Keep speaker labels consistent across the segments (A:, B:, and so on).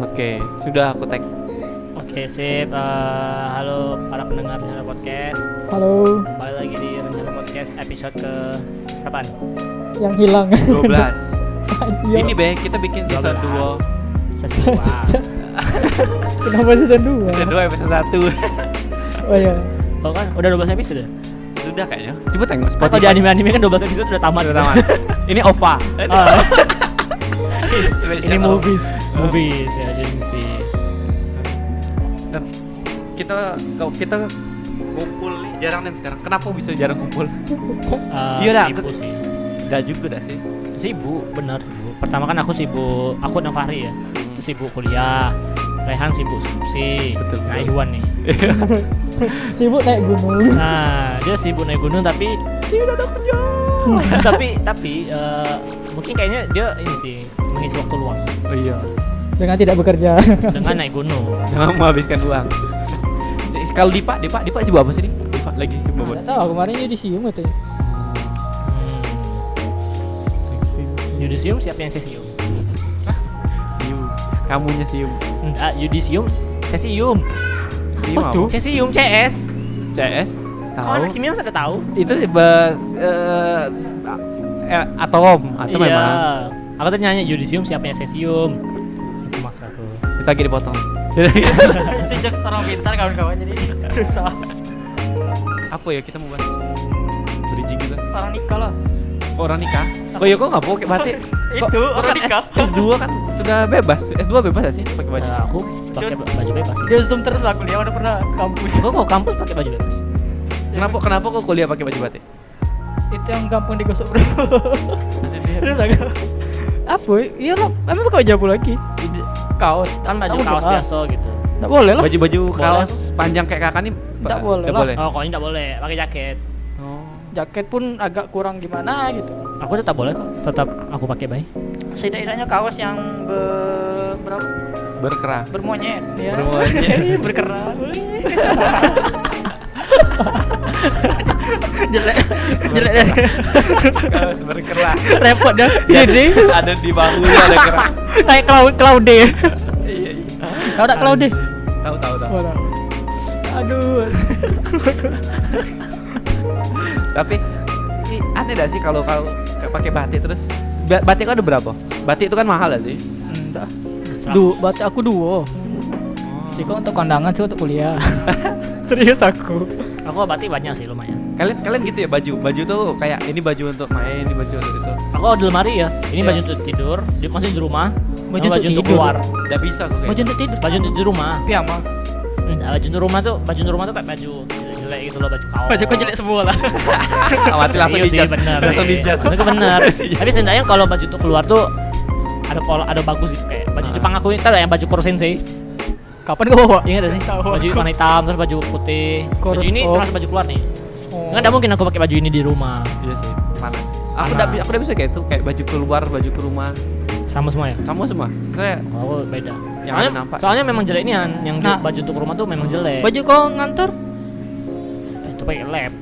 A: Oke, sudah aku tag.
B: Oke sip, Eh, halo para pendengar Rencana Podcast
C: Halo,
B: Kembali lagi di Rencana Podcast episode ke berapa?
C: yang hilang.
A: 12.
C: Iya,
A: Ini Be, kita bikin season 2.
B: 12 Season 2
C: kenapa season 2?
A: Season 2 episode 1.
C: Oh iya.
B: Oh kan, udah 12 episode
A: sudah kayaknya. Coba tengok
B: Atau
A: Spotify.
B: di anime-anime kan 12 episode udah tamat
A: Sudah tamat. Ini OVA.
B: Oh,
A: Spesial
B: ini
A: OVA.
B: movies Movies, ya jadi movies
A: Dan kita kau- kita kumpul nih jarang nih sekarang. Kenapa bisa jarang kumpul?
B: Eh,
A: Iya dah,
B: Sibuk
A: aku-
B: sih
A: Dah juga dah sih.
B: Sibuk, bener Pertama kan aku sibuk, aku dan Fahri ya
A: Hmm.
B: Terus sibuk kuliah Rehan sibuk skripsi
A: Betul,
B: Nah
A: betul.
B: Iwan nih
C: Sibuk naik gunung.
B: Nah, dia sibuk naik gunung tapi tidak ada kerja. Hmm. tapi tapi eh, mungkin kayaknya dia ini sih mengisi waktu luang
A: Oh iya.
C: Dengan tidak bekerja.
B: dengan naik gunung. Hmm.
A: Jangan menghabiskan uang. Si- Kalau Dipa, Dipa, Dipa sibuk apa sih? Di? Dipa lagi sibuk apa?
C: Nggak tahu kemarin yudisium
D: ya.
C: katanya.
B: Hmm. Yudisium siapa yang sesium?
A: Sium. Kamunya sium.
B: Enggak, Yudisium sesium.
A: Sium apa?
B: Sesium CS.
A: CS.
B: Kau
A: Tahu.
B: anak kimia sudah tahu?
A: itu sih be- eh, a- eh, atom atau
B: Iya.
A: memang
B: Aku tadi nanya Yudisium siapa yang sesium? Itu mas aku.
A: kita lagi dipotong
B: Itu jokes orang pintar kawan-kawan jadi susah.
A: apa ya kita mau bahas bridging gitu
B: Orang nikah loh.
A: orang nikah oh iya kok nggak pakai batik Kok-
B: Itu,
A: kok
B: orang
A: kan
B: nikah.
A: S2 kan sudah bebas S2 bebas gak sih pakai baju
B: Nah, aku pakai baju bebas.
D: Dia zoom terus aku lihat udah pernah ke kampus.
B: Gue kok kampus pakai baju bebas?
A: kenapa kenapa kok kuliah pakai baju batik
D: Itu yang gampang digosok bro. terus aku apa? Iya lo, emang pakai baju apa lagi? Kaos.
B: Kan baju
D: Aku
B: kaos
D: doa.
B: biasa gitu.
D: Tidak boleh lah.
A: baju baju
B: Boleh.
A: kaos panjang kayak kakak nih
C: Nggak boleh
A: nggak
C: lah.
A: boleh
B: Oh, kalau ini enggak boleh pakai jaket.
A: Oh.
D: Jaket pun agak kurang gimana gitu.
B: Aku tetap boleh kok. Tetap aku pakai baik.
D: Setidak-tidaknya kaos yang ber berapa?
A: berkerah
D: bermonyet. Ya.
A: Bermonyet.
D: Ih, Berkerah. jelek jelek deh
A: kaos berkerah
D: repot dah Iya
A: Iya.
D: jadi
A: ada di bahunya ada kerah
D: naik cloud cloud deh
A: iya iya
D: tahu tak cloud deh
A: tahu tahu tahu
C: Wala.
D: aduh
A: tapi ini aneh gak sih kalau kalau kayak pakai batik terus Ba- batik ada berapa batik itu kan mahal gak sih
D: Entah.
C: Du, batik aku duo. Ciko untuk kondangan, Ciko untuk kuliah. Serius aku.
B: Aku batik banyak sih lumayan.
A: kalian kalian gitu ya baju baju tuh kayak ini baju untuk main ini baju untuk itu
B: Aku ada lemari ya.
A: Iya.
B: Ini baju untuk tidur, di, masih di rumah.
C: Baju
B: Sama
C: untuk
B: baju untuk
C: tidur.
B: keluar.
A: Gak bisa kok gitu.
B: Baju
A: kayaknya
B: untuk tidur, baju untuk di rumah.
D: piyama
B: Enggak, baju untuk rumah tuh, baju untuk rumah tuh kayak baju jelek-jelek gitu loh, baju kaos.
D: baju kau jelek semua lah
A: Awasi Ah, langsung
B: Iya sih,
A: dijat
B: bener
A: langsung Iya.
B: sih.
A: dijat
B: Maksudnya bener Tapi sebenarnya kalau baju untuk keluar tuh ada pola ada bagus gitu kayak baju
A: Ah.
B: Jepang aku ini tau nggak yang baju kurusin sih
D: kapan kau bawa
B: Iya gak sih?
D: Tahu
B: Baju
D: aku.
B: warna hitam, terus baju putih
C: Chorus
B: Baju ini
C: off.
B: termasuk baju keluar nih
D: Oh.
B: Enggak, enggak mungkin aku pakai baju ini di rumah
A: iya sih panas aku udah
B: Panas.
A: aku udah bisa kayak itu kayak baju keluar baju ke rumah
B: Sama semua ya?
A: kamu semua saya
B: Oh, beda
A: Yang
B: soalnya,
A: ada nampak.
B: soalnya memang jelek nih Han. yang di-
D: Nah.
B: baju untuk rumah tuh memang jelek
D: baju kau ngantor
B: Eh, Itu pakai lab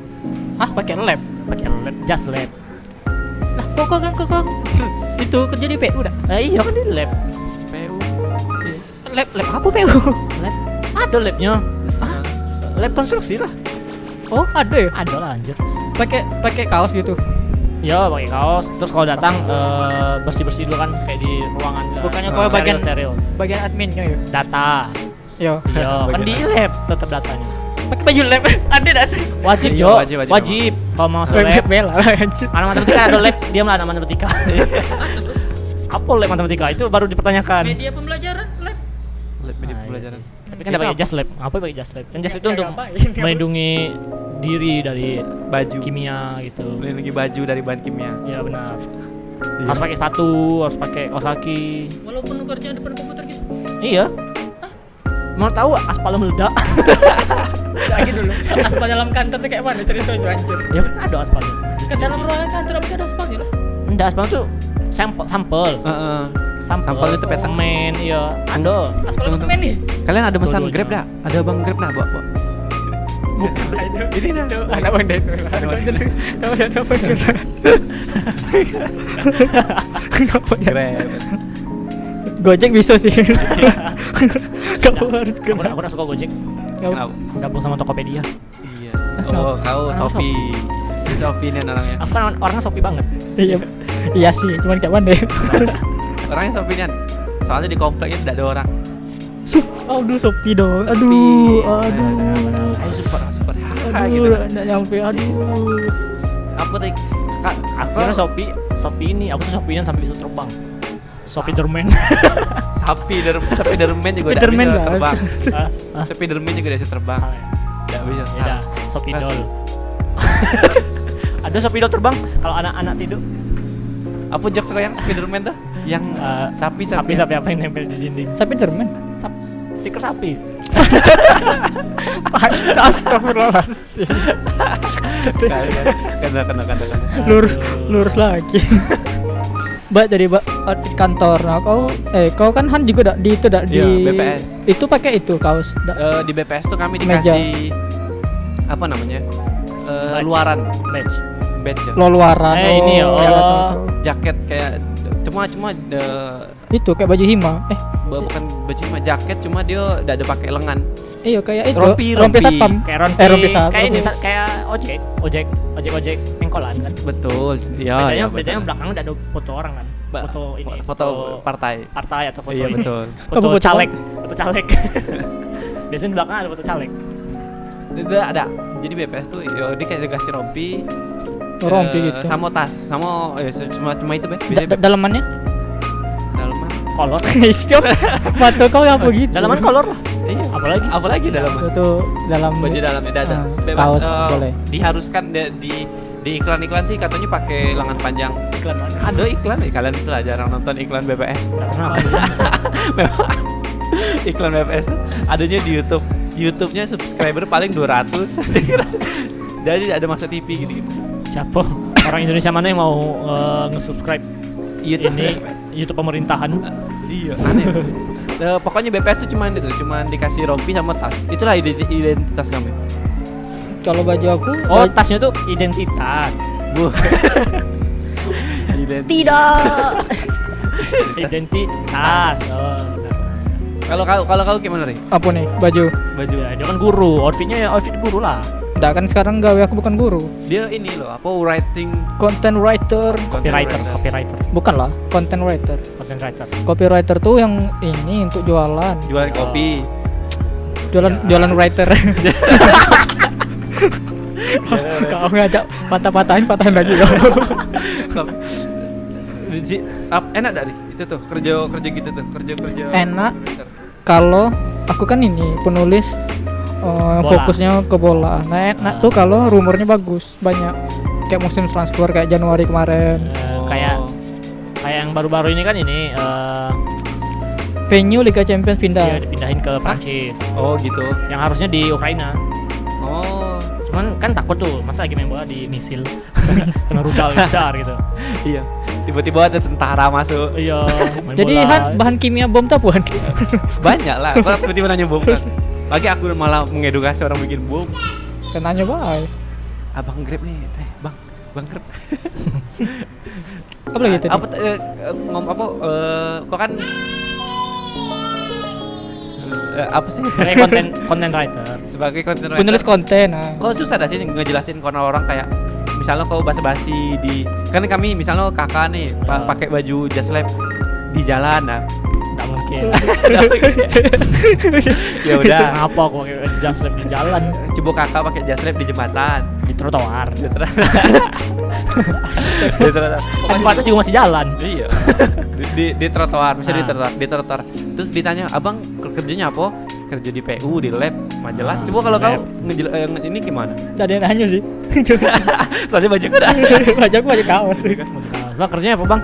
D: ah pakai lab
B: Pakai lab, jas lab
D: lah kok kau kan kau kau itu kerja di PU dah
B: Eh iya kan di lab
A: PU
D: lab lab apa PU
B: Lab Ada labnya
A: Iya.
B: Lab konstruksi lah
D: oh ada ya
B: Ada lah anjir
D: pakai pakai kaos gitu
B: Ya pakai kaos, terus kalau datang bersih bersih dulu kan kayak di ruangan. eh,
D: Bukannya
B: eh,
D: kalau
B: steril-
D: bagian-
B: steril
D: bagian adminnya ya
B: data.
D: yo
B: Yo, kan
A: Bagian
B: di lab tetap datanya.
D: pakai baju lab ada dah sih
B: Wajib
A: Iya,
B: jo,
A: wajib,
B: wajib.
A: wajib,
B: Kalau mau masuk
C: Web
B: lab,
C: bela lah anjir.
B: anak matematika ada lab, dia malah anak matematika. Apa lab matematika? Itu baru dipertanyakan.
D: media pembelajaran lab
A: lab media
B: Ah, iya
A: pelajaran
B: sih. Tapi kan ada pakai jas lab. Apa pakai jas lab? Kan jas lab itu
D: Ya,
B: untuk
D: ngapain?
B: melindungi diri dari
A: baju
B: kimia gitu.
A: beli lagi baju dari bahan kimia
B: Ya benar.
A: Iya.
B: Harus pakai sepatu, harus pakai kaos kaki.
D: walaupun kerja depan komputer gitu
B: Iya. Mau tahu aspal meledak?
D: lagi dulu aspal dalam kantor tuh kayak mana ceritanya anjir
B: ya kan ada aspalnya.
D: ke dalam ruangan kantor apa ada aspalnya lah
B: Enggak, aspal itu sampel, sampel.
A: Heeh.
B: Sampel,
A: Sampel itu pet sampel.
B: semen, iya. Ando.
D: aspal
A: Tunggu,
D: semen nih
A: kalian ada pesan grab
B: Dua-duanya.
A: dah ada bang grab nah bawa bawa
D: ini dah ada bang Deno ada bang Deno ada bang Deno
A: grab
C: Gojek bisa sih. Kamu harus
B: Aku
C: kena.
B: aku udah suka Gojek.
A: Kenapa?
B: Gabung sama Tokopedia.
A: Iya. Oh, kau
B: Kenapa?
A: Sofi. Sofi nih orangnya.
B: Aku kan orangnya sopi banget.
C: Iya. Iya sih, cuman kayak mana?
A: Orangnya Sofi nih. Soalnya di kompleknya tidak ada orang.
C: Suh, aduh sepi dong.
A: Sepi.
C: Aduh,
A: Aduh,
C: aduh.
A: Ayo support, support. Hahaha, gitu.
C: Aduh, nggak nyampe. Aduh.
A: Apa tadi? Kak,
B: Aku kan-
A: aku
B: kira sopi, sopi ini. Aku tuh sopian sampai bisa terbang. Ah. Sopi dermen.
A: sapi der sapi dermen juga tidak
C: Spiderman
A: bisa
C: lah.
A: terbang.
B: Ah, ah,
A: Sapi dermen juga tidak bisa terbang.
B: salah ya.
A: Tidak bisa.
B: Ya udah, sopi dol. Ada sopi dol terbang. Kalau anak-anak tidur,
A: Apa jokes kau yang Spiderman tuh? Yang
B: eh,
A: sapi
B: sapi sapi apa yang nempel di dinding?
D: Sapi dermen.
B: Sap, stiker sapi.
C: Astagfirullahaladzim.
A: Kena kena kena kena.
C: Lurus lurus lagi.
D: Mbak dari ba- outfit kantor. Nah, kau eh kau kan Han juga dak di itu dak di
A: Iya, BPS.
D: Itu pakai itu kaos. Dak.
A: Eh, di BPS tuh kami
D: Meja.
A: dikasih apa namanya? Eh,
B: Badge.
A: luaran
B: Badge.
A: badge ya.
D: Lo luaran.
B: Eh, ini
D: iya,
B: ya, oh.
D: tahu, tahu.
A: jaket kayak cuma cuma eh,
D: Itu kayak baju hima. Eh,
A: bu- bukan baju cuma jaket cuma dia tidak ada pakai lengan
D: iya kayak itu.
A: Rompi,
D: rompi
A: rompi.
D: satpam.
B: Kayak
D: Eh,
B: rompi,
D: rompi sapi.
B: kayak ini, sa- kayak ojek, ojek, ojek, ojek, pengkolan kan.
A: betul
D: iya,
A: ya ya,
B: bedanya bedanya
A: betul.
B: belakang udah ada foto orang kan
A: Ba-
B: foto ini
A: foto partai
B: partai atau foto
A: iya
B: ini
A: betul
B: foto
C: Apa foto
B: caleg foto caleg biasanya di belakang ada foto caleg
A: Ada ada. Jadi BPS tuh ya, dia kayak dikasih rompi.
D: Oh, rompi
A: eh,
D: gitu.
A: sama tas, sama ya, cuma cuma itu bet.
D: Da- da- dalamannya?
A: dalaman.
B: kolor
C: Stop. Mata kau apa gitu?
B: dalaman kolor lah
A: Iya.
B: apalagi
A: Apalagi
D: Itu
A: dalaman.
D: tuh dalam
A: Baju dalamnya ada ada.
D: Ah,
A: Bebas,
D: kaos,
A: eh,
D: boleh.
A: Diharuskan di, di di iklan-iklan sih katanya pakai lengan panjang.
B: iklan mana
A: Ada iklan eh, kalian lah jarang nonton iklan BPS.
B: Nggak pernah aku.
A: Memang iklan BPS tuh adanya di YouTube. YouTube-nya subscriber paling 200. Jadi ada masuk TV gitu-gitu.
B: siapa orang Indonesia mana yang mau eh, nge-subscribe
A: YouTube
B: ini
A: BPS.
B: YouTube pemerintahan
A: Iya, aneh. Eh, pokoknya BPS tuh cuman itu, cuman dikasih rompi sama tas. Itulah identi- identitas kami.
D: Kalau baju aku
B: oh
D: baju-
B: tasnya tuh identitas
A: Bu. Identi-
B: tidak identitas oh, benar.
A: Kalau kau kalau kau gimana nih?
D: apa nih? Baju.
A: Baju.
B: Ya, dia kan guru outfitnya ya outfit guru lah
D: Dak kan sekarang gawe aku bukan guru.
A: Dia ini loh, apa writing
D: Content writer.
B: copywriter copywriter
D: Bukan lah, content writer.
B: content writer
D: Copywriter tuh yang ini untuk jualan.
A: jualan
B: Oh.
A: kopi.
D: Jualan
B: Iya.
D: jualan writer.
C: Kau ngajak patah-patahin patahin lagi kau.
A: Kop- Di- ap- enak gak nih? Itu tuh kerja kerja gitu tuh, kerja kerja.
D: Enak. kalau aku kan ini penulis eh,
B: Bola.
D: fokusnya ke bola. Nah, enak
B: Ah.
D: tuh kalau rumornya bagus, banyak kayak musim transfer kayak Januari kemarin.
B: Eh,
A: Oh.
B: kayak kayak Ah, yang baru-baru ini kan ini eh,
D: Venue Liga Champions
B: dia
D: pindah.
B: dipindahin ke Prancis
A: Oh gitu.
B: yang harusnya di Ukraina
A: Oh.
B: cuman kan takut tuh masa lagi main bola di misil kena rudal besar gitu
A: Iya. Tiba-tiba ada tentara masuk.
B: iya main
D: Jadi
B: bola.
D: Han, bahan kimia bom tuh apa Han?
A: Banyak lah. Kalau tiba-tiba nanya bom kan. Lagi aku malah mengedukasi orang bikin bom.
D: Kenanya baik.
A: Abang Grab nih, eh Bang, Bang Grab.
D: Apa
B: Nah,
D: lagi tadi?
A: Apa t- eh, eh, ngom apa eh, kok kan Eh, apa sih
B: sebagai konten konten writer
A: sebagai konten writer,
D: Penulis konten. Nah.
A: kok susah dah sih ngejelasin karena orang kayak misalnya kau basa-basi di kan kami misalnya kakak nih pa-
B: Ya.
A: pakai baju just lab di jalan nah gitu?
B: nggak mungkin
A: ya udah
B: kenapa aku pakai baju jas lab di jalan
A: coba kakak pakai just lab di jembatan
B: di trotoar
A: Dia ternyata- Dia ternyata-
B: tempatnya Eh, juga masih jalan
A: Iya. di, di, di trotoar, misalnya di
B: Ah.
A: trotoar, di trotoar. Terus ditanya, "Abang ker- kerjanya apa?" Kerja di PU, di lab, majelas.
B: Ah,
A: Coba kalau kau
B: lab.
A: ngejel eh, nge- ini gimana?
C: Tidak ada yang nanya sih.
A: Soalnya baju kan ada.
C: Baju aku baju kaos.
B: bang kerjanya apa bang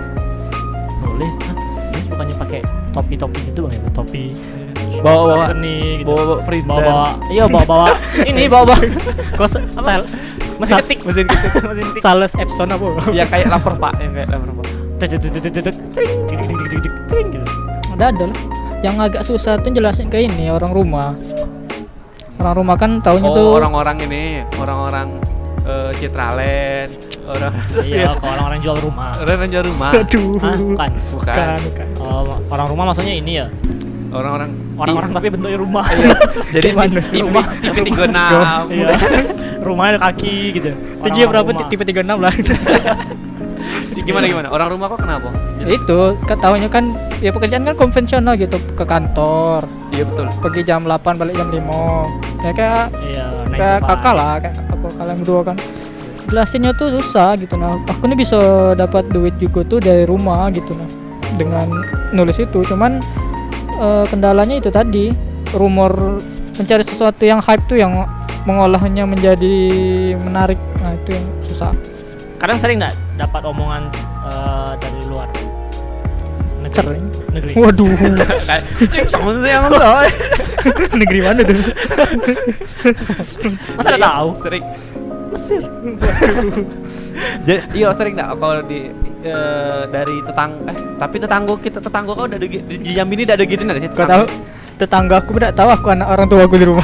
B: nulis Hah? nulis bukannya pakai topi topi gitu bang ya topi
A: Bawa bawa
B: seni gitu.
A: bawa bawa printer.
B: bawa bawa iya bawa bawa ini bawa bawa
C: Kos sal
B: mesin ketik
A: mesin ketik.
B: mesin ketik
C: sales Epson apa?
A: ya kayak lapor Pak, yang kayak lapor Pak.
B: Cek, cek, cek, cek, cek, cek, cering, cek, cek, cek, cek, cek, cering, gitu
D: Ada ada lah. Yang agak susah tuh jelasin ke ini orang rumah. Orang rumah kan taunya tuh
B: Oh,
C: gitu.
A: Oh, orang-orang ini, orang-orang eh eh, Citraland, orang
B: Iya, kalau orang-orang jual rumah.
A: orang yang jual rumah,
C: Aduh.
B: Hah, bukan.
A: bukan
C: bukan.
B: Oh, orang rumah maksudnya ini ya.
A: orang-orang
B: Orang-orang tapi bentuknya rumah.
A: jadi
C: Kayak mana?
A: tipe
B: Rumah.
A: tipe tiga enam,
B: Iya. Rumahnya ada kaki gitu.
C: Tinggi
B: Orang-orang rumah.
C: berapa? Tipe 36 lah.
A: gimana gimana, orang rumah kok kenapa?
C: itu ketahuannya kan ya pekerjaan kan konvensional gitu ke kantor
A: Iya betul.
C: pergi jam 8 balik jam 5 ya kayak
B: Iya, nine to
C: kayak
B: five.
C: kakak lah kayak aku kalian berdua kan jelasinnya tuh susah gitu nah aku nih bisa dapat duit juga tuh dari rumah gitu nah dengan nulis itu cuman eh, kendalanya itu tadi rumor mencari sesuatu yang hype tuh yang mengolahnya menjadi menarik nah itu yang susah
B: Kadang sering nggak dapat omongan eh, dari luar. Negeri.
C: Sering.
B: Negeri.
C: waduh
A: Kayak cing cong sih emang
C: negeri mana tuh
B: Masa
C: iya.
B: ada tahu?
A: Oh, Sering.
B: Mesir.
A: Jadi iya sering enggak kalau di eh, dari tetang eh tapi tetangga kita tetangga kau udah ada gi- di jam ini udah ada gitu enggak sih?
C: Kau tahu tetangga aku tidak tahu aku anak orang tua aku di rumah.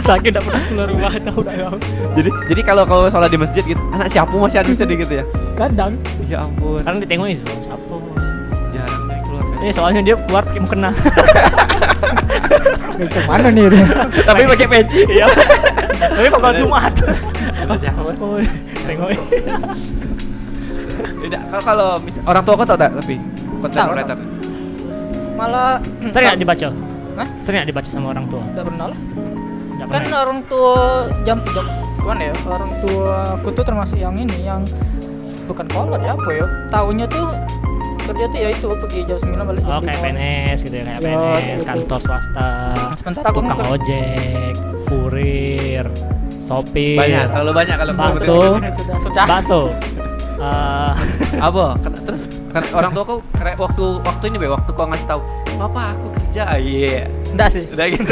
C: Sakit tidak pernah keluar rumah
B: Iya.
C: tahu tidak tahu.
A: Jadi jadi kalau kalau sholat di masjid gitu, anak siapa masih ada bisa gitu ya?
C: Kadang
A: Ya ampun,
B: Kadang ditengok ini siapa?
A: jarang nih keluar.
B: Ini soalnya dia keluar pakai mukena.
C: "Eh, ke mana nih dia?
A: tapi pakai peci.
B: Iya. Tapi pas sholat Jumat.
A: Siapa?
B: Oh, Tengok.
A: Tidak, kalau kalau mis- orang tua kau tahu tak tapi konten
C: Tahu,
A: kreator.
C: Malah
B: Sering
C: ya,
B: nggak dibaca?
C: Hah?
B: Sering nggak dibaca sama orang tua?
C: tidak pernah lah.
B: Nggak
C: Kan
B: pernah ya?
C: orang tua jam jam mana ya? Orang tua aku tuh termasuk yang ini yang bukan kolot ya apa ya? Tahunya tuh kerja tuh ya itu pergi jam 9 balik jam
B: Oh kayak
C: 5.
B: PNS gitu ya, kayak
C: Ya, kayak
B: PNS,
C: gitu.
B: kantor swasta,
C: Sementara aku
B: tukang
C: ngeker-
B: ojek, kurir, sopir,
A: Banyak, terlalu banyak kalau
B: bakso,
C: Sudah sudah.
B: bakso. Eh,
A: apa Ken- terus ken- orang tua kau kere- waktu waktu ini be waktu kau ngasih tahu papa aku kerja Ah, iya
C: Enggak sih.
A: udah gitu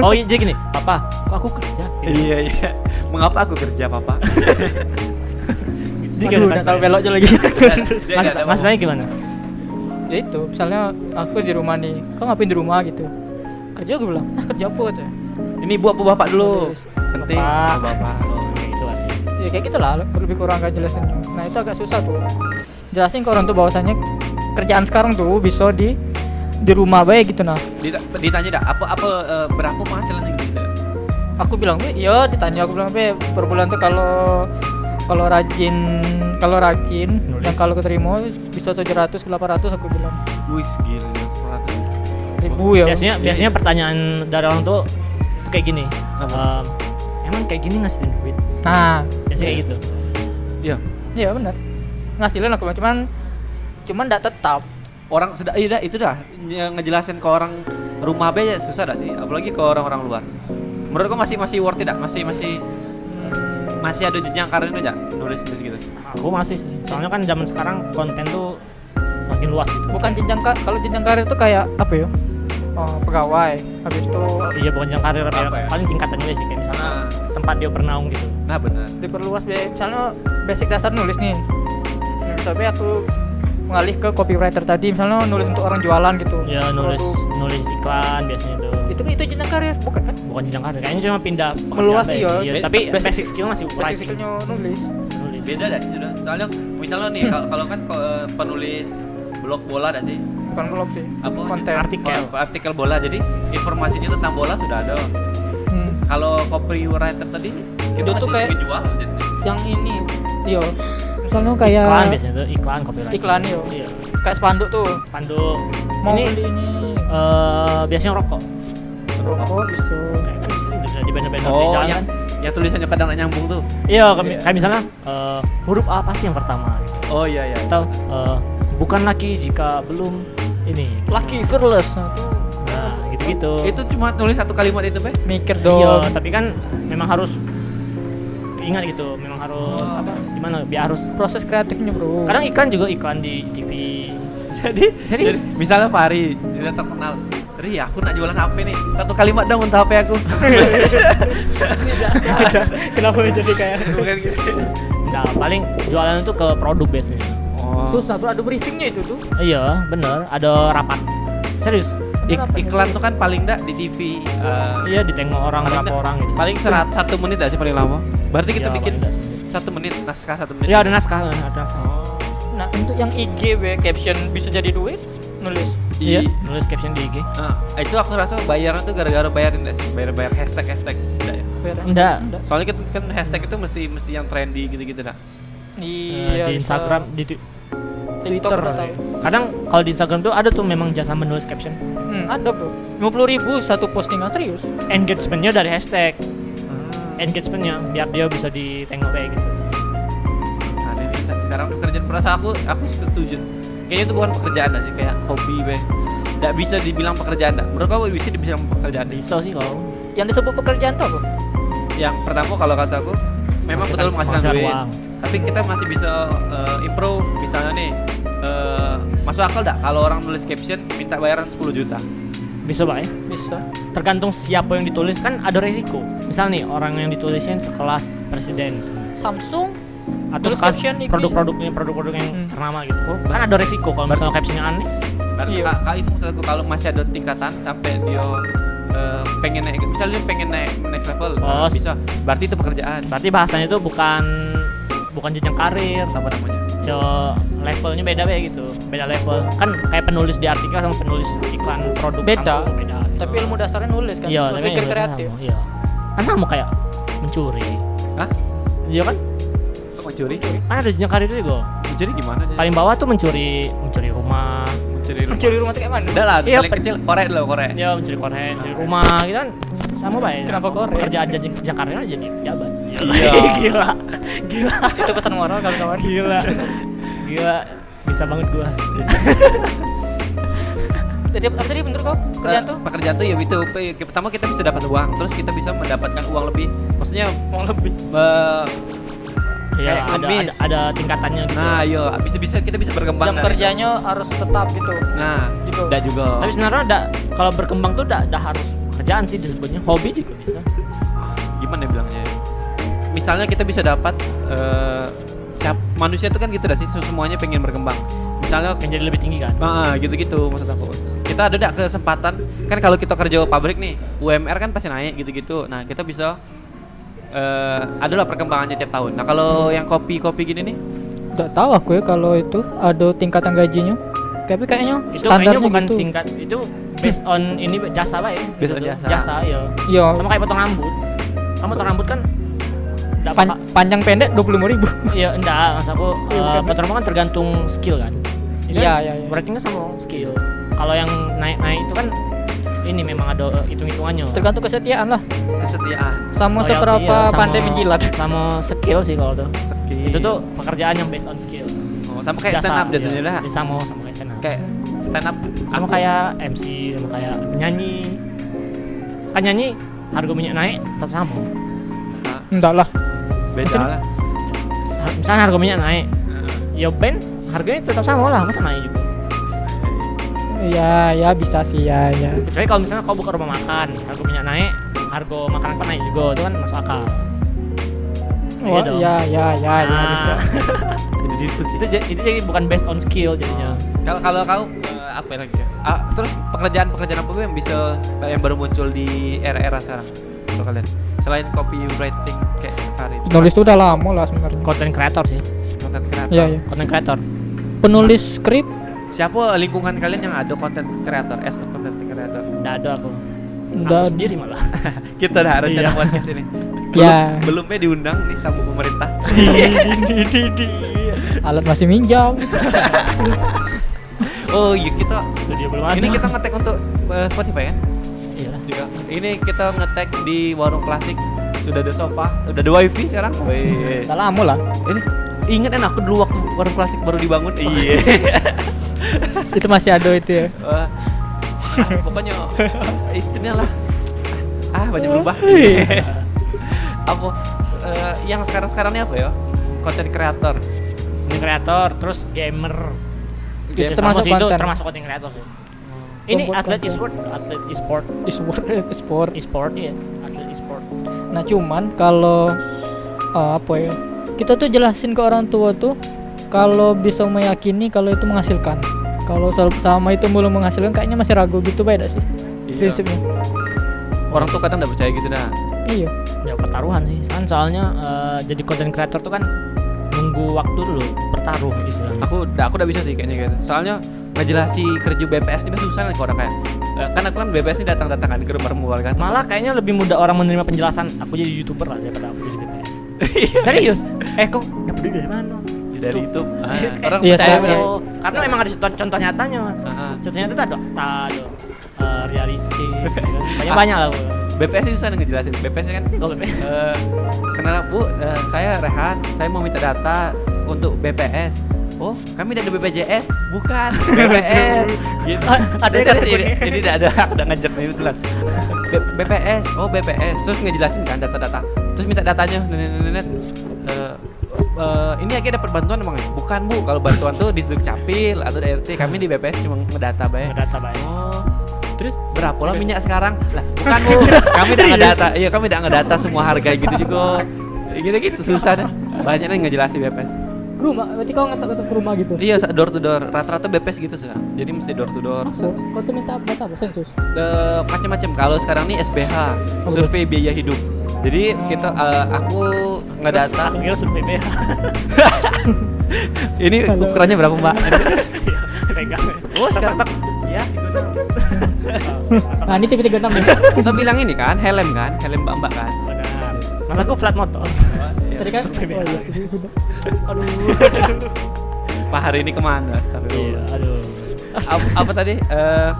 B: oh iya jadi gini, papa, kok aku kerja? Gitu.
A: iya iya mengapa aku kerja papa
B: Jadi gimana
C: Aduh,
B: Mas
C: udah tahu
B: Nay?
C: belok aja lagi.
A: Dia
B: Mas,
A: nggak ada
B: Mas
A: mau-
B: Nay gimana?
C: ya itu misalnya aku di rumah nih kau ngapain di rumah gitu kerja gue bilang ah kerja apa katanya
A: ini buat bu bapak dulu
C: Terus,
A: penting
B: bapak.
A: Bu bapak
B: Kayak gitu kan.
C: ya kayak gitulah lebih kurang gak jelasannya nah itu agak susah tuh jelasin ke orang tuh bahwasannya kerjaan sekarang tuh bisa di di rumah baik gitu nah
A: Dita- ditanya dah apa apa eh, berapa penghasilan yang gitu
C: aku bilang "Be, iya ditanya aku bilang be per bulan tuh kalau kalau rajin kalau rajin
B: Nulis.
C: yang kalau keterima bisa 700 ke 800 aku bilang
A: wis gila sepuluh ratus.
C: ribu ya
B: Biasanya
A: Iya.
B: biasanya pertanyaan dari orang tua tuh kayak gini.
A: Apa?
B: Em, emang kayak gini ngasihin duit?
C: nah
B: Biasanya kayak gitu.
A: iya
C: iya benar ngasilin aku bilang, cuman cuman tidak tetap
A: orang sudah iya dah, itu dah Nye- ngejelasin ke orang rumah be ya susah dah sih apalagi ke orang-orang luar menurut kau masih masih worth tidak masih masih masih ada jenjang karirnya nggak nulis nulis gitu
B: Aku masih sih. Soalnya kan zaman sekarang konten tuh semakin luas gitu.
C: bukan jenjang ka- kalau jenjang karir itu kayak apa ya oh, pegawai habis itu
B: Iya bukan jenjang karir apa ya.
A: Apa ya?
B: Paling tingkatan aja sih kayak misalnya
C: Ah.
A: nah
B: tempat dia bernaung gitu.
A: nah benar
C: diperluas biaya misalnya basic dasar nulis nih nulis tapi aku mengalih ke copywriter tadi misalnya nulis untuk orang jualan gitu
B: Ya nulis
C: Produk.
B: nulis iklan biasanya itu.
C: itu itu jenjang karir bukan kan
B: Bukan jenjang karir. Kayaknya cuma pindah pekerjaan
C: Meluas
B: aja
C: iya.
B: sih.
A: Ba-
B: tapi
C: basic-
B: basic, skill masih
C: basic
B: writing.
C: skillnya nulis
B: Masih nulis.
A: beda dah sih sudah soalnya misalnya nih kalau kalau kan ko- eh, penulis blog bola dah sih
C: bukan blog sih
A: apa
C: konten
B: artikel.
A: Apa, artikel bola jadi informasinya tentang bola sudah ada
C: Hmm.
A: kalau copywriter tadi kita
C: Itu tuh kayak-
A: jual jadi
C: yang ini yo
D: iya.
C: misalnya kayak
B: Iklan biasanya itu iklan copyright.
C: Iklan, iya.
B: Iya.
C: kayak spanduk tuh
B: Pandu.
C: mau
B: ini
C: beli ini
B: eh, biasanya rokok.
C: rokok bisa
B: Kayak kan di sini bisa di banner-banner di
A: oh
B: jalan.
C: iya.
A: yang
B: kan.
A: yang tulisannya kadang nggak nyambung tuh
B: Iya, kayak mi- kayak misalnya eh, huruf A pasti yang pertama gitu.
A: oh iya iya
B: Atau eh, bukan laki jika belum ini.
C: lucky fearless nah, itu
B: Nah, gitu-gitu.
A: itu cuma nulis satu kalimat itu be
C: mikir
B: Iya,
C: dong
B: tapi kan memang harus ingat gitu, memang harus
C: Oh.
B: apa? Gimana? Biar harus
C: proses kreatifnya bro
B: Kadang iklan juga iklan di TV.
A: jadi
B: Serius?
A: jadi misalnya Fahri dia terkenal Ri aku nak jualan HP nih satu kalimat dong untuk HP aku
B: Kenapa jadi kayak
A: bukan gitu
B: Nah, paling jualan itu ke produk biasanya.
A: oh
C: susah bro ada briefingnya itu tuh
B: Iya, bener. Ada rapat. Serius.
A: Ik- iklan tuh kan paling enggak di TV eh,
B: Iya ditengok orang
A: paling
B: berapa
A: nggak-
B: orang gitu.
A: paling serat satu menit aja paling lama berarti kita
B: Iya, paling
A: bikin
B: nggak semenit.
A: satu menit naskah satu menit
B: Iya ada naskah, eh, ada naskah.
D: Nah untuk yang IG be caption bisa jadi duit nulis.
B: Iya,
A: Di-
B: nulis caption di IG.
A: Eh, itu aku rasa bayaran tuh gara-gara bayarin nggak sih bayar-bayar hashtag hashtag enggak ya?
D: Beres.
B: Enggak.
A: soalnya kan, kan hashtag itu mesti mesti yang trendy gitu-gitu dah
D: Iya.
B: Nah, di
D: bisa.
B: Instagram, di tu-
D: TikTok
B: Twitter.
D: nggak tahu.
B: Kadang kalau di Instagram tuh ada tuh memang jasa menulis caption.
D: Hmm, ada bro. Lima puluh ribu satu postingan serius.
B: Engagementnya dari hashtag. Engagementnya biar dia bisa ditengok kayak gitu.
A: ada nih kan sekarang tuh kerjaan perasa aku aku setuju kayaknya itu bukan pekerjaan dah sih kayak hobi be nggak bisa dibilang pekerjaan dah menurut kamu bisa dibilang pekerjaan nih
B: Bisa sih kalau
D: Yang disebut pekerjaan tuh apa?
A: yang pertama kalau kata aku memang
B: Menghasilkan-
A: betul menghasilkan
B: menghasilkan
A: duit
B: uang.
A: tapi kita masih bisa eh, improve misalnya nih eh, masuk akal dah kalau orang nulis caption minta bayaran 10 juta
B: bisa pak ya.
D: Bisa.
B: Tergantung siapa yang ditulis kan ada resiko. Misal nih orang yang ditulisnya sekelas presiden misalnya.
D: Samsung
B: atau
D: Terus
B: sekelas
D: caption IG.
B: produk-produknya produk-produk yang
D: Hmm.
B: ternama gitu. Kan ada resiko kalau misalnya captionnya aneh.
A: dan
D: Iya.
A: ka- ka- itu maksud aku kalau masih ada tingkatan sampai dia eh, pengen naik misalnya dia pengen naik next level nah,
B: Oh, s-
A: bisa berarti itu pekerjaan
B: Berarti bahasanya itu bukan bukan jenjang karir,
A: apa namanya
B: ya levelnya beda beda gitu beda level kan kayak penulis di artikel sama penulis iklan produk
D: Beda.
B: Samsung beda gitu.
D: tapi ilmu dasarnya nulis kan.
B: iya tapi
D: berpikir
B: yang biasa
D: kreatif.
B: sama, iya kan sama kayak mencuri
A: Hah?
B: iya kan
A: Kok mencuri?
B: kan ada jenjang karir juga
A: Mencuri gimana? Jadi?
B: paling bawah tuh mencuri mencuri rumah
A: mencuri rumah.
D: Mencuri rumah tuh kayak mana?
A: Udah lah,
B: Iya,
A: paling
B: pe-
A: kecil korek loh korek.
B: ya mencuri korek mencuri rumah gitu kan sama pak ya
D: Kenapa korek?
B: kerjaan jenjang jenjang karir aja jadi pejabat
A: Iya.
B: gila gila
D: Itu pesan moral kawan-kawan.
B: gila gila bisa banget gua
D: Jadi apa tadi menurut kau pekerjaan
A: Eh,
D: tuh?
A: pekerjaan tuh ya itu pe- ke- pertama kita bisa dapat uang terus kita bisa mendapatkan uang lebih maksudnya
D: Mau lebih.
A: be-
B: ya
A: Kayak
B: ada,
A: ngemis.
B: ada ada tingkatannya gitu
A: nah yo bisa bisa kita bisa berkembang
D: Jam
A: dari-
D: kerjanya harus tetap gitu.
A: nah
D: Gitu.
A: tidak juga
B: Tapi sebenarnya da, kalau berkembang tuh da, da harus kerjaan sih disebutnya. Hobi juga bisa.
A: gimana ya bilangnya ya? misalnya kita bisa dapat eh, siap- manusia tuh kan gitu dah sih semuanya pengen berkembang misalnya
B: Yang jadi lebih tinggi kan.
A: Ah, gitu-gitu maksud aku. Kita ada gak kesempatan kan kalau kita kerja pabrik nih, UMR kan pasti naik gitu-gitu. Nah, kita bisa eh adalah perkembangannya tiap tahun. Nah, kalau yang kopi-kopi gini nih,
C: Nggak tahu aku ya kalau itu ada tingkatan gajinya. Tapi kayaknya
B: Itu kayaknya
C: standarnya
B: bukan
C: gitu.
B: tingkat itu based on ini jasa pak ya.
A: Based
B: Itu
A: on
B: tuh,
A: jasa.
B: ya.
C: Iya.
B: Sama kayak potong rambut. Kamu potong rambut kan enggak
C: pan- panjang pendek 25.000 ribu
B: Iya, enggak. Mas aku eh,
C: Iya, bukan.
B: potong rambut kan tergantung skill kan. Ini
C: Iya,
B: kan
C: iya, iya.
B: Berarti kan sama skill. Kalau yang naik-naik itu kan ini memang ada eh, hitung-hitungannya.
C: tergantung kesetiaan lah
A: kesetiaan.
C: Oh, sama
B: Loyalty,
C: seberapa
B: iya, sama-
C: pandai menjilat Iya,
B: sama skill sih kalau tuh.
A: Skill.
B: Itu tuh pekerjaan yang based on skill.
A: Oh, sama kayak stand up jadinya
B: iya.
A: lah.
B: Ya, sama sama kayak stand up.
A: Kayak stand up
B: sama
A: aku-
B: kayak MC sama kayak penyanyi kan nyanyi harga minyak naik tetap sama
A: Nah,
C: enggak lah
A: beda lah.
B: Har- misalnya harga minyak naik
A: Heeh.
B: ya band harganya tetap sama lah masa naik juga
C: ya ya bisa sih ya ya
B: kecuali kalau misalnya kau buka rumah makan harga minyak naik harga makanan kau naik juga itu kan masuk akal
D: iya
C: oh
B: dong.
C: ya ya ya ya
D: Ah.
C: bisa.
B: Nah,
A: Jadi gitu sih.
B: itu, ja- itu jadi bukan based on skill jadinya
A: Kalau kalau kau eh, apa lagi? ya? Ah, terus pekerjaan-pekerjaan apa yang bisa yang baru muncul di era-era sekarang? Kalau kalian selain copywriting kayak hari itu,
C: penulis itu udah lama lah sebenarnya
B: content creator sih
A: content creator.
C: ya ya
B: content creator
C: penulis skrip
A: Siapa lingkungan kalian yang ada content creator, as a content creator?
B: tidak ada aku
C: Nggak-
B: aku sendiri malah
A: Kita dah rencana
B: Iya.
A: buat ke sini. Iya.
C: Ya.
A: Belum, belumnya diundang nih sama pemerintah.
C: alat masih minjam
A: Oh iya kita
B: itu dia belum ada Iya.
A: ini kita ngetek untuk eh, Spotify ya
B: Iyalah.
A: juga. Ini kita ngetek di warung klasik sudah ada sofa, sudah ada wifi sekarang. Wih.
C: udah lama lah
A: Ini ingat enak aku dulu waktu warung klasik baru dibangun. Iya.
C: itu masih ada itu ya
A: Wah. Eh, Ah, pokoknya eh, itunya lah ah banyak berubah apa eh, yang sekarang sekarang ini apa ya konten kreator
B: content creator terus gamer
C: Itu
B: Gamer
C: Iya,
B: sama
C: termasuk
B: sih, itu
C: konten.
B: termasuk content creator sih ini
C: Pembuat
B: atlet
C: konten.
B: e-sport atlet e-sport
C: e-sport e-sport
B: e-sport iya atlet e-sport
C: eh, Nah cuman kalau eh, apa ya kita tuh jelasin ke orang tua tuh kalau bisa meyakini kalau itu menghasilkan. kalau sel- sama itu belum menghasilkan kayaknya masih ragu gitu beda sih
A: Iya.
C: prinsipnya
A: Orang tuh kadang nggak percaya gitu dah.
C: iya
B: ya pertaruhan sih kan soalnya eh, jadi content creator tuh kan nunggu waktu dulu bertaruh istilahnya
A: Aku dah aku udah bisa sih kayaknya gitu. Soalnya ngejelasi kerja BPS ini masih susah nih ke orang kayak. Eh, Kan aku kan BPS ini datang-datang kan ke rumah-rumah warga.
B: malah kayaknya lebih mudah orang menerima penjelasan aku jadi youtuber lah daripada aku jadi BPS serius eh kok dapet duit dari mana
A: Iya.
B: Gitu.
A: dari itu ah,
B: Kayak
A: orang
C: Iya,
A: percaya
C: soalnya-
A: bener.
B: oh, karena emang ada contoh, contoh nyatanya
A: Ah, ah.
B: contoh nyata itu ada fakta ada eh, reality banyak banyak lah gua.
A: BPS itu sana ngejelasin. BPS kan
B: Gua BPS.
A: eh kenal Bu, eh, saya Rehan, saya mau minta data untuk BPS. Oh, kami dari BPJS, bukan BPS. gitu.
B: Ah, ada
A: Jadi-
B: kategori.
A: jadi- Jadi tidak ada udah ngajar nih betulan. B- BPS, oh BPS. Terus ngejelasin kan data-data. Terus minta datanya. Nenet, nenet. Eh, eh, ini akhirnya dapat bantuan emang ya? Bukan bu, kalau bantuan tuh di Dukcapil atau di RT kami di BPS cuma ngedata bae.
B: data banyak
A: Oh, terus berapa lah minyak sekarang? Lah, bukan Bu. Kami tidak ngedata. Iya, kami tidak ngedata semua harga gitu juga. Gitu-gitu susah deh. Banyak yang nggak jelasin BPS.
D: Ke rumah, berarti kau ngetok-ngetok ke rumah gitu.
A: Iya, sa- door to door. Rata-rata BPS gitu sekarang. Jadi mesti door to door.
D: Apa? Kau tuh minta apa? Apa sensus?
A: Eh, Macam-macam. Kalau sekarang nih SBH, survei biaya hidup. Jadi kita eh, aku
B: Terus
A: ngedata.
B: aku kira survei BH
A: Ini ukurannya berapa, Mbak?
B: Iya, pegang
A: Oh, sekarang
B: ya ikut.
A: gitu.
D: Nah, ini TV 36 ya.
A: kita bilang ini kan, helm kan, helm Mbak-mbak kan.
B: benar masa aku flat motor
D: Tadi kan?
B: Survei
D: Oh, iya,
B: BH.
D: TV udah.
A: Pak hari ini kemana? Astagfirullah.
B: Iya, aduh
A: apa, apa tadi Eh,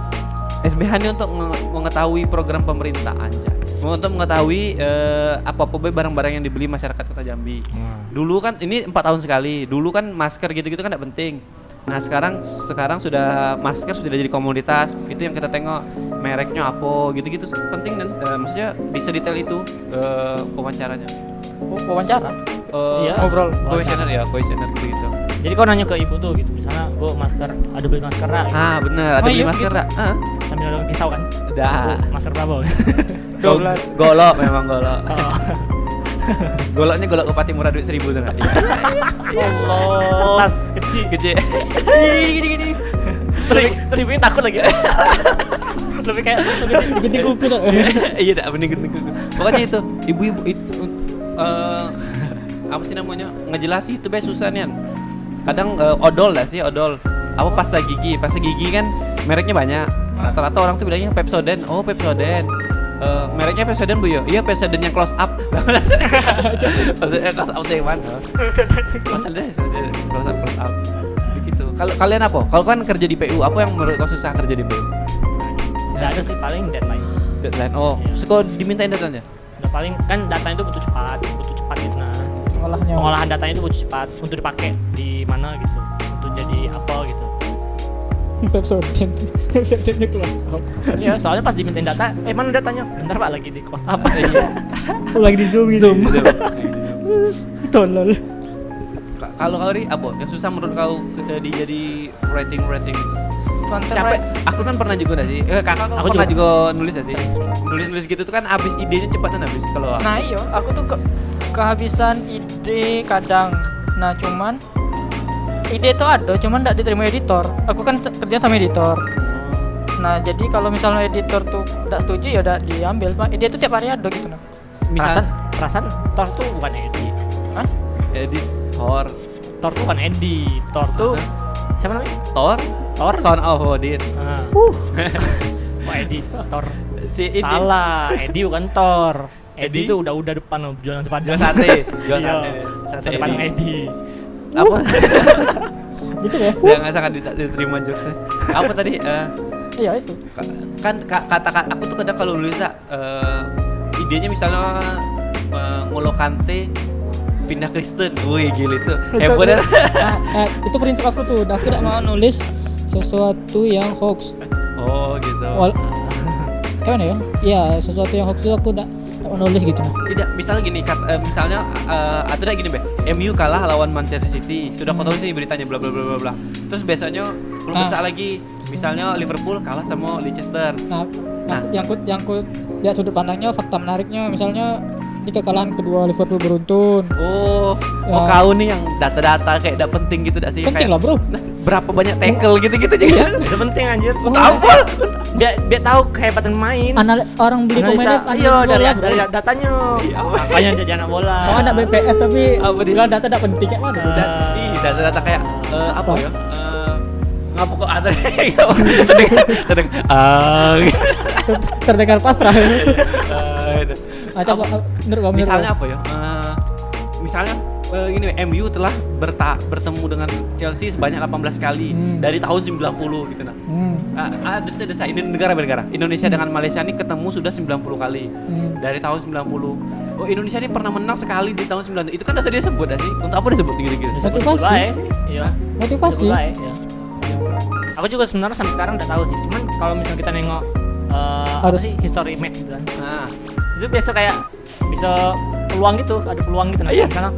A: SBH ini untuk menge- mengetahui program pemerintah aja untuk mengetahui eh, apa-apa be barang-barang yang dibeli masyarakat kota Jambi dulu kan ini empat tahun sekali dulu kan masker gitu-gitu kan tidak penting nah sekarang sekarang sudah masker sudah jadi komoditas itu yang kita tengok mereknya apa gitu-gitu penting dan eh, maksudnya bisa detail itu eh, wawancaranya
D: Oh,
C: iya.
D: Wawancara.
A: Eh,
B: Iya,
A: ngobrol
B: wawancara.
A: questioner ya questioner gitu
B: jadi kau nanya ke ibu tuh gitu misalnya bu masker ada beli masker nggak? Gitu.
A: ah bener ada
B: Oh,
A: beli
B: iya,
A: masker
B: gitu.
A: dak? Ah,
B: sambil ada pisau kan
A: dah
B: Bu, masker berapa Bu?
A: Go- golok memang golok
B: Oh.
A: goloknya golok upati murah duit seribu tuh nggak?
B: kertas Ya kecil
A: kecil
B: terus terus ibunya takut lagi lebih kayak
D: Gede kuku tuh.
A: iya dah bening bening bening. pokoknya itu ibu-ibu itu eh, apa sih namanya ngejelasi itu be susah nian kadang eh, odol lah sih odol apa pasta gigi pasta gigi kan mereknya banyak rata-rata orang tuh bilangnya Pepsodent oh Pepsodent Eh, mereknya Pepsodent bu yo iya Pepsodent yang close up maksudnya close up tuh yang mana maksudnya Pepsodent close up close up begitu kalau kalian apa kalau kan kerja di PU apa yang menurut kau susah kerja di PU
B: nggak ada sih paling deadline
A: deadline oh
B: Iya.
A: terus kau dimintain deadline
B: udah paling kan datanya itu butuh cepat butuh cepat gitu nah
C: Ya.
D: Olahnya.
B: pengolahan datanya itu butuh cepat untuk dipakai di mana gitu untuk jadi apa gitu
D: Pepsodent. Pepsodentnya keluar.
B: Iya, soalnya pas dimintain data, eh mana datanya? Bentar Pak lagi di close up.
D: Oh, lagi di zoom gitu.
A: Gitu.
B: Iya,
D: Tolol.
A: Ka- kalau kau ri apa yang susah menurut kau ke- di jadi writing writing
D: Konten
A: capek aku kan pernah juga nggak sih eh, kakak aku
B: Aku
A: pernah juga,
B: juga.
A: nulis nggak sih
B: Sering.
A: nulis nulis gitu tuh kan abis idenya cepatan abis kalau aku.
C: Nah iya, aku tuh ke- kehabisan ide kadang. Nah cuman ide tuh ada, cuman tidak diterima editor. Aku kan se- kerja sama editor.
B: Oh.
C: Nah jadi kalau misalnya editor tuh tidak setuju ya udah diambil. Pak. Ide tuh tiap hari ada gitu nah.
A: misal
B: Perasaan, perasaan Thor tuh bukan Eddie.
C: Hah?
A: edit Thor
B: Thor tuh bukan Eddie. Thor tuh siapa namanya?
A: Thor
B: Thor.
A: Son of Odin
B: Ah. Kok Eddie Thor.
A: si ini
B: Salah, Eddie bukan Thor. Eddie
A: Eddie?
B: tuh udah-udah depan loh jualan sepatu.
A: Jual sate jual
B: Iya.
A: sate
B: Masa depan
A: Eddie.
B: Eddie.
A: apa
B: Uh.
D: Gitu ya.
A: jangan sangat dita- diterima jokesnya apa tadi eh,
D: Iya, itu.
A: Ka- kan ka- kata ka- aku tuh kadang kalau nulis Kak, eh, idenya misalnya eh, ngolo kante pindah Kristen, wih gila itu hebat
D: Nah, eh, itu prinsip aku tuh. Aku tidak mau nulis sesuatu yang hoax.
A: oh gitu.
D: Wal Kayak mana ya? Iya, sesuatu yang hoax itu aku tidak nulis gitu nah.
A: Tidak, misalnya gini, kat- eh, misalnya eh, atau tidak gini be, MU kalah lawan Manchester City, sudah kau tahu sih beritanya bla bla bla bla bla. Terus besoknya belum
D: Ah.
A: besar lagi, misalnya Liverpool kalah sama Leicester.
D: Nah,
A: Nah.
D: yang ku yang ku lihat sudut pandangnya fakta menariknya misalnya
C: di kekalahan kedua Liverpool beruntun
A: Oh,
C: Ya.
A: oh kau nih yang data-data kayak gak penting gitu gak sih?
C: penting lah
A: kayak,
C: bro
A: "Nah, berapa banyak tackle gitu-gitu juga.
B: Itu penting anjir.
A: Tampol.
B: Biar biar tahu kehebatan main.
C: Anal- orang beli pemainnya
B: Analisa,
C: analisa
B: ayo
C: Iya, bola,
B: dari
C: bro.
B: dari datanya. Makanya jadi anak bola.
C: Kau anak BPS tapi
A: Apa dia?
C: bilang data tidak penting ya mana?
A: Dan ih, data-data kayak eh, apa
C: Apa?
A: ya? Eh, ngapuk kok ada sedang sedang ah
B: Iya.
C: Terdengar pasrah. Atau apa? Menurut kamu?
A: misalnya apa ya? Eh, misalnya eh, gini MU telah berta bertemu dengan Chelsea sebanyak 18 kali
C: Hmm.
A: dari tahun 90 gitu nah.
C: Hmm.
A: Ah, ah, terus ada saya, ini negara-negara. Indonesia dengan Malaysia ini ketemu sudah 90 kali
C: Hmm.
A: dari tahun 90. Oh, Indonesia ini pernah menang sekali di tahun 90. Itu kan dasar dia sebut gak sih? Untuk apa disebut gitu-gitu?
C: Motivasi.
B: sih. Iya.
C: Motivasi.
B: Sebelah ya, ya. Aku juga sebenarnya sampai sekarang udah tahu sih. Cuman kalau misalnya kita nengok eh, apa
C: Harus.
B: sih history match gitu kan.
A: Nah,
B: Itu biasa kayak bisa peluang gitu, ada peluang gitu nah.
A: Iya.
B: Misalnya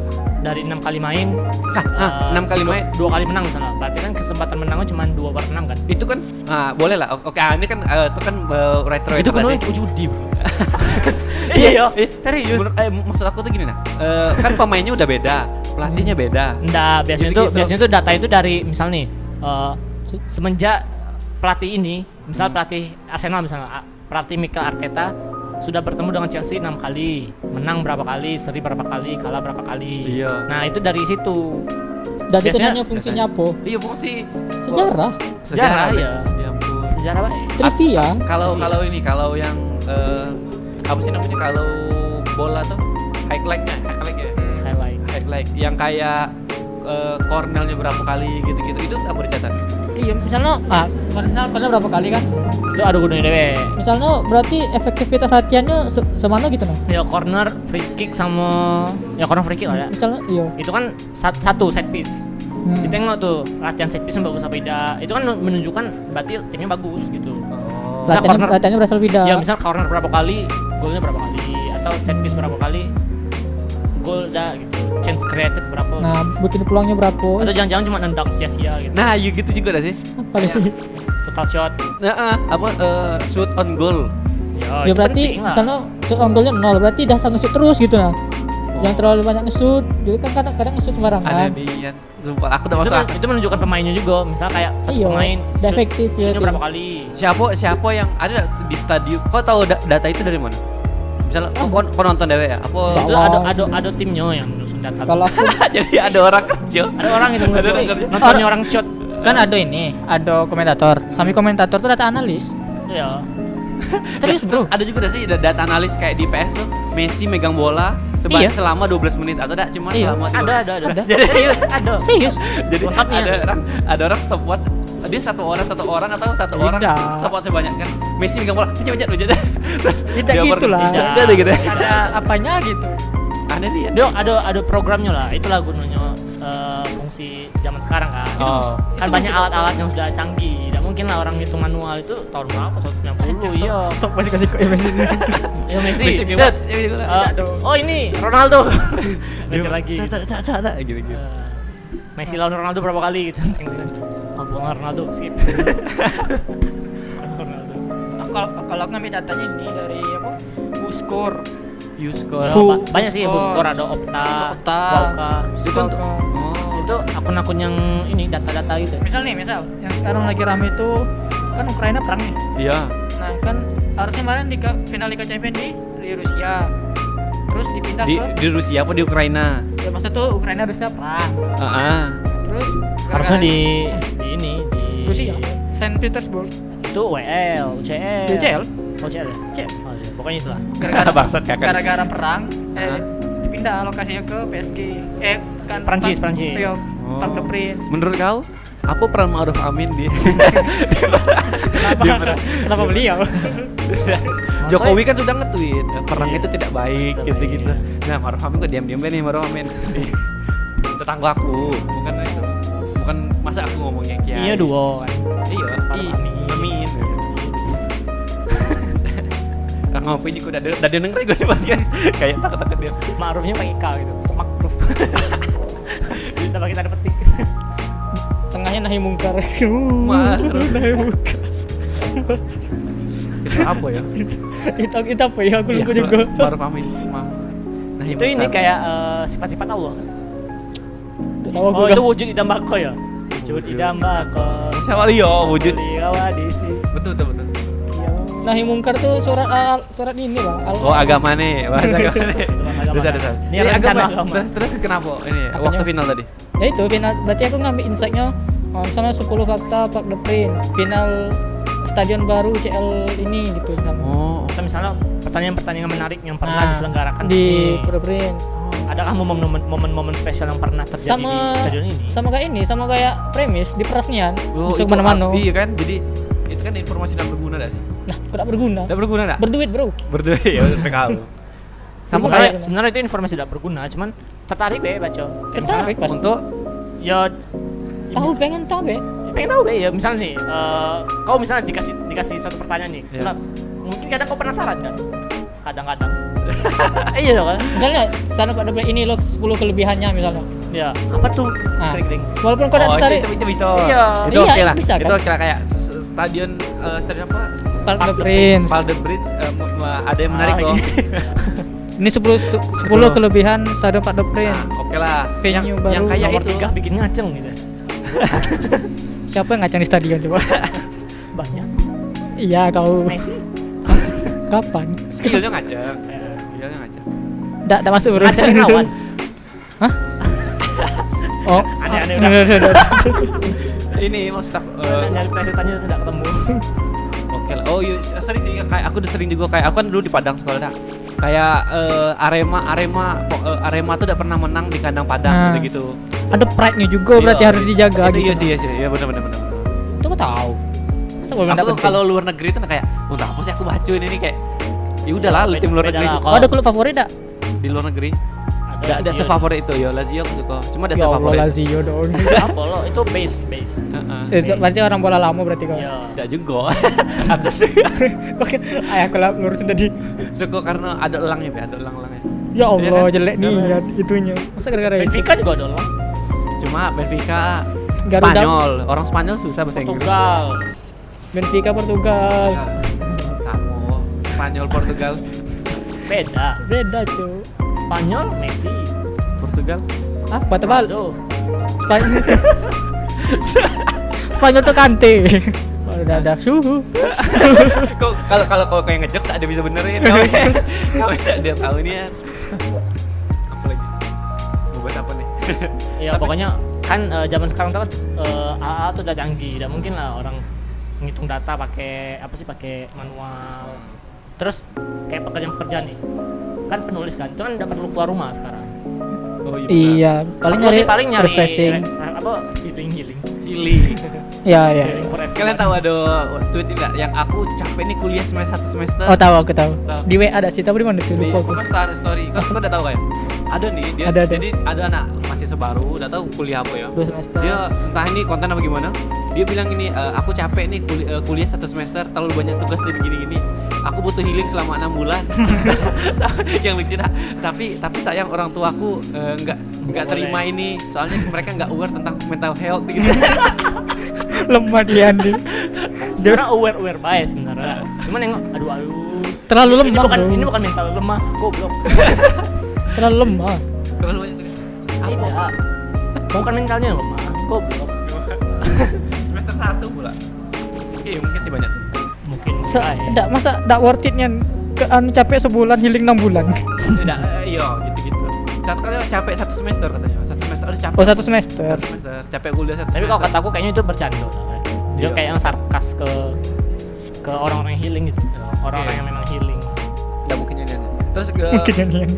B: dari enam kali main,
A: ah, ah,
B: eh,
A: 6 kali
B: du-
A: main
B: dua kali menang misalnya. Berarti kan kesempatan menangnya cuma dua per enam kan.
A: itu kan ah, boleh lah O- oke ah, ini kan eh, itu kan eh, retro
B: Itu
A: kan
B: penuh judi. bro. Iya, iya.
A: serius eh, maksud aku tuh gini nah eh, kan pemainnya udah beda pelatihnya beda
B: Nggak, biasanya
A: Gitu-gitu.
B: tuh biasanya tuh data itu dari misal nih eh, semenjak pelatih ini, misal pelatih Arsenal misalnya a- pelatih Mikel Arteta sudah bertemu dengan Chelsea enam kali, menang berapa kali, seri berapa kali, kalah berapa kali.
A: Iya.
B: Nah, itu dari situ.
C: Dan itu
B: Biasanya-
C: nanya fungsinya apa?
A: iya fungsi
C: Sejarah,
B: Sejarah, ya.
A: ya ampun.
B: Sejarah baik.
C: trivia.
A: kalau
B: Iya.
A: kalau ini kalau yang eh, apa sih namanya kalau bola tuh highlight-nya highlight-nya
B: Highlight.
A: highlight yang kayak eh, cornernya berapa kali gitu-gitu itu apa dicatat
C: Iya, misalnya ah, karena pernah berapa kali kan?
B: Itu ada gunanya dewe.
C: Misalnya berarti efektivitas latihannya se semana gitu nah.
B: Ya corner, free kick sama ya corner free kick lah ya.
C: Misalnya iya.
B: Itu kan sat- satu set piece.
C: Hmm.
B: Ditengok tuh latihan set piece bagus apa tidak. Itu kan menunjukkan berarti timnya bagus gitu.
A: oh.
B: Misal
C: Latihannya,
B: corner-
C: latihannya berasal beda.
D: Iya,
B: ya misal corner berapa kali golnya berapa kali atau set piece berapa kali gol dah gitu chance created berapa
C: nah, bikin peluangnya berapa?
B: atau jangan-jangan cuma nendang sia-sia gitu
A: nah iya gitu juga dah sih
C: Apa
D: iya.
C: Ya, lagi?
B: total shot
A: nah, eh, apa eh, shoot on goal
C: ya
B: itu kan
C: berarti
B: penting lah.
C: misalnya shot on goalnya nol berarti dah sang ngesut terus gitu nah jangan terlalu banyak ngesut jadi kan kadang-kadang ngesut
A: ada
C: sembarangan
A: di Ian. Sumpah, aku udah
B: itu,
A: masalah
B: men- itu menunjukkan pemainnya juga misal kayak satu
C: Iya,
B: pemain
C: dah
B: shoot-
C: efektif ya
B: shootnya
C: tim.
B: berapa kali
A: siapa siapa yang ada nggak di stadion kau tahu da- data itu dari mana misalnya oh, kau, kau nonton dewe ya apa
C: Tahu.
B: itu ada ada ada timnya yang menyusun data
C: kalau aku
A: jadi ada orang kerja
B: ada orang itu
A: Ada orang
B: nonton
A: kerja.
B: nontonnya orang shot
D: kan ada ini ada komentator sami komentator tuh data analis
B: ya
D: serius bro
A: ada juga dah sih da- data analis kayak di PS tuh Messi megang bola seba-
D: Iya.
A: selama 12 menit atau enggak cuma
D: Iya,
A: selama
B: ada
A: 13.
B: ada
D: Ada.
B: ada serius ada
D: serius
A: jadi
B: Lengkapnya.
A: ada orang ada orang stop watch dia satu orang satu orang atau satu orang
C: Tidak.
A: stop watch banyak kan Messi megang bola pecah pecah pecah
C: Tidak gitu lah.
A: tidak ada gitu
D: ada apanya gitu
A: aneh nih
B: Dia ada ada programnya lah, itulah gunanya eh, fungsi zaman sekarang kan. Itu
A: Oh.
B: kan banyak alat-alat yang sudah canggih. Tidak mungkin lah orang ngitung manual itu tahun berapa 190 iya.
C: sok masih kasih kok Messi ini
B: Ya Messi,
A: Messi gimana?
B: cet.
A: Ya, gitu lah.
B: Eh, oh ini Ronaldo. Baca lagi.
A: tak tak tak tak, tak gitu gitu
B: Eh, Messi lawan Ronaldo berapa kali gitu. Tengok kan. Oh, buang Ronaldo, skip. Ronaldo.
D: kalau kalau aku ngambil datanya ini dari apa Buskor
A: you
B: Eh,
A: score
B: ba- banyak sih,
D: Skor.
B: Buskor ada Opta,
D: Opta.
B: Skoka.
A: itu untuk oh
B: Itu akun-akun yang ini data-data gitu.
D: misal nih misal yang sekarang lagi rame tuh kan Ukraina perang nih
A: iya
D: nah kan harusnya kemarin di ka- final Liga Champions di, di Rusia terus dipindah
A: di,
D: ke
A: di Rusia apa di Ukraina
D: ya maksud tuh Ukraina Rusia perang
A: ah
D: terus
B: harusnya
D: gara-gara
B: di di ini di
C: ya.
D: Rusia ya, Saint Petersburg
B: itu WL UCL
D: UCL?
B: UCL ya?
D: Cek,
B: Oh, iya. pokoknya itulah
D: gara-gara
A: bangsat kakak
D: gara-gara perang
A: Hah?
D: eh dipindah lokasinya ke PSG eh kan
B: Prancis,
D: Park-
B: Prancis.
D: iya,
A: Oh.
D: Park de Prince
A: menurut kau apa peran Ma'ruf Amin di
B: kenapa kenapa beliau
A: Jokowi kan sudah nge-tweet eh, perang
B: Iya.
A: itu tidak baik
B: Tidak
A: gitu-gitu.
B: baik,
A: Nah, Ma'ruf Amin kok diam-diam aja nih Ma'ruf Amin. Ih, Tetangga aku, bukan itu. Bukan masa aku ngomongnya kiai.
B: iya duo kan
A: Iya,
B: Ma'ruf
A: Amin. Amin.
B: Amin.
A: Kang Ngopi juga udah udah dia dengerin gue di podcast. Kayak takut-takut dia.
B: Ma'rufnya pakai K gitu Ma'ruf udah pakai tanda petik
D: tengahnya nahi mungkar
A: Ma'ruf. apa ya?
D: itu itu apa ya aku
A: Iya,
D: lupa juga
A: Ma'ruf Amin. Maaf.
B: itu ini kayak eh, sifat-sifat Allah kan?
C: Tahu
B: oh
C: aku
B: itu wujud idam bako ya wujud idam bako
A: Sama Leo wujud.
B: diawadisi
A: Betul betul betul.
C: Nahi mungkar tuh surat
D: ah,
C: al, surat ini bang. Al-
A: Oh agama nih, bahas agama nih.
B: agama.
A: Bisa bisa.
B: Ini
A: Jadi
B: rencana
A: agama.
B: agama.
A: Terus terus kenapa ini waktu final tadi?
C: Ya itu final. Berarti aku ngambil insightnya. Oh, misalnya 10 fakta Pak The Prince final stadion baru CL ini gitu kan.
A: Oh.
B: atau misalnya pertanyaan-pertanyaan menarik yang pernah
C: Nah,
B: diselenggarakan
C: di
B: ini.
C: The Prince.
B: adakah momen-momen momen-momen spesial yang pernah terjadi
C: Sama
B: di stadion ini
C: sama kayak ini, sama kayak premis di peresmian.
A: Oh, itu
C: bisa kemana mana
A: ab- Iya kan? Jadi itu kan informasi tidak berguna dah.
C: Nah, kok tak berguna.
A: Tidak berguna dah.
C: Berduit, Bro. Nah,
A: Berdua ya PKL. Sama
C: Bisa
A: kayak
B: sebenarnya sebenarnya itu informasi tidak berguna cuman tertarik deh baca Kayak
C: Tertarik
B: misalnya,
C: pasti.
A: untuk
B: ya
C: Tahu pengen tahu ya.
B: ya pengen tahu deh ya misalnya nih eh, kau misalnya dikasih dikasih satu pertanyaan nih
A: Iya.
B: nah, mungkin kadang kau penasaran kan kadang-kadang iya dong kan
C: Misalnya sana Pak The Prince ini loh 10 kelebihannya misalnya.
B: ya apa tuh
C: Ah.
B: kering-kering
C: Walaupun kau
A: Oh,
C: tak tertarik
A: itu, itu bisa.
B: Iya.
A: Itu
C: Iya,
A: oke lah.
C: bisa kan?
A: Itu oke lah kayak s- s- stadion eh, stadion apa?
C: Pak The
B: Park The
C: Prince.
A: Palde Bridge eh, m- m- ada yang menarik
B: Ah,
A: loh.
C: Ini 10 10
A: Betul.
C: kelebihan stadion Pak The Prince.
A: Nah, oke lah. Yang
C: Venue baru.
A: yang kayak
B: nomor
A: itu.
B: tiga bikin ngaceng gitu
C: Siapa yang ngacang di stadion coba?
B: banyak
C: Iya kau
B: Messi
C: kapan?
A: Skillnya ngaca. Skillnya ngaca.
C: Nggak, nggak masuk bro.
B: ngaceng lawan
C: Oh,
B: Aneh-aneh udah.
C: ah, udah, udah, udah.
A: Ini maksud aku eh,
B: nyari presetannya tidak ketemu
A: Oke lah. Oh iya, s- sering sih kayak aku udah sering juga kayak aku kan dulu di Padang sekolah dah. Kayak eh, Arema Arema po- eh, Arema tuh udah pernah menang di kandang Padang
C: Nah.
A: gitu gitu.
C: Ada pride-nya juga berarti harus dijaga
A: gitu.
C: gitu.
A: Iya sih, iya sih. Iya benar benar benar.
C: Itu kau tahu. Masa kau bilang
A: Aku
C: nggak
A: tuh
C: penting?
A: kalau luar negeri tuh kayak untuk apa sih aku bacuin ini kayak ya udahlah lu tim luar
B: Beda
A: negeri
B: lah,
C: Kau Oh, ada klub favorit enggak?
A: di luar negeri. Enggak ada
B: Lazio.
A: sefavorit itu ya Lazio aku suka. Cuma ada
C: Ya Allah
A: sefavorit.
C: Lazio Eh. dong.
B: apa lo itu base base
A: Heeh.
C: Itu berarti orang bola lama berarti kau.
B: ya
A: Tidak juga. Aku suka.
C: Kok ayah aku lah ngurusin tadi.
A: suka karena ada elangnya, Be. ada elang-elangnya.
C: Ya Allah
A: kan?
C: jelek nih
A: Karena-
C: ya, itunya. Masa gara-gara itu?
B: Benfica juga ada loh
A: Cuma Benfica
C: Garuda.
A: Spanyol, orang Spanyol susah bahasa Inggris.
B: Portugal
C: Benfica Portugal.
A: Samo, Spanyol, Portugal,
B: beda
C: Beda, cuy.
B: Spanyol Messi
A: Portugal.
C: Apa tebal?
B: Ronaldo
C: Spanyol Spanyol tuh kante udah ada suhu
A: Kok kalau kalau kau kayak ngejek tak ada bisa benerin. Kau kau tak dia tahu nih ya. Apa lagi? Mau buat apa nih?
B: ya pokoknya kan eh, zaman sekarang tuh kan eh, alat tuh udah canggih dan mungkin lah orang ngitung data pakai apa sih pakai manual terus kayak pekerjaan-pekerjaan nih kan penulis kan itu kan nggak perlu keluar rumah sekarang
A: Oh
C: iya paling
B: Aku
C: nyari
B: sih paling nyari
C: refreshing
B: re- re- apa healing healing
A: Pilih.
C: ya ya
B: healing for everyone.
A: Kalian tahu ada tweet enggak yang aku capek nih kuliah semester satu semester.
C: oh tahu aku tahu
A: Tahu.
C: di WA ada sih tapi di mana tuh
A: di
C: lupa aku
A: pokoknya star story kau kau udah tahu kan ada nih dia
C: Ada, ada.
A: jadi ada anak masih sebaru udah tahu kuliah apa ya
C: dua semester
A: dia entah ini konten apa gimana dia bilang ini "E, aku capek nih kul- eh, kuliah satu semester terlalu banyak tugas dan gini-gini aku butuh healing selama enam bulan yang lucu dah tapi tapi sayang orang tuaku eh, nggak nggak
B: Boleh.
A: terima ini soalnya mereka nggak aware tentang mental health gitu
C: lemah dia Andi
B: sebenarnya aware aware baik sebenarnya cuman yang aduh aduh
C: Iya. terlalu
B: ini
C: lemah
B: bukan
C: bro.
B: ini bukan mental lemah goblok
C: terlalu lemah
A: terlalu banyak tugas apa
B: tidak bukan mentalnya yang lemah goblok
A: semester satu pula iya mungkin sih banyak
B: mungkin
C: Se
B: enggak ya.
C: dak- masa dak worth it nya ke anu capek sebulan healing 6 bulan
A: tidak iya gitu gitu satu kali capek satu semester katanya satu semester udah capek
C: oh satu semester
A: Satu semester capek kuliah satu
B: tapi kalau
A: semester
B: kataku kayaknya itu bercanda lah. dia
A: Iya.
B: kayak yang sarkas ke ke orang-orang yang healing gitu
C: Iya.
B: orang-orang
A: Oke.
B: yang memang healing
A: tidak mungkin nyanyi terus ke
C: mungkin yang yang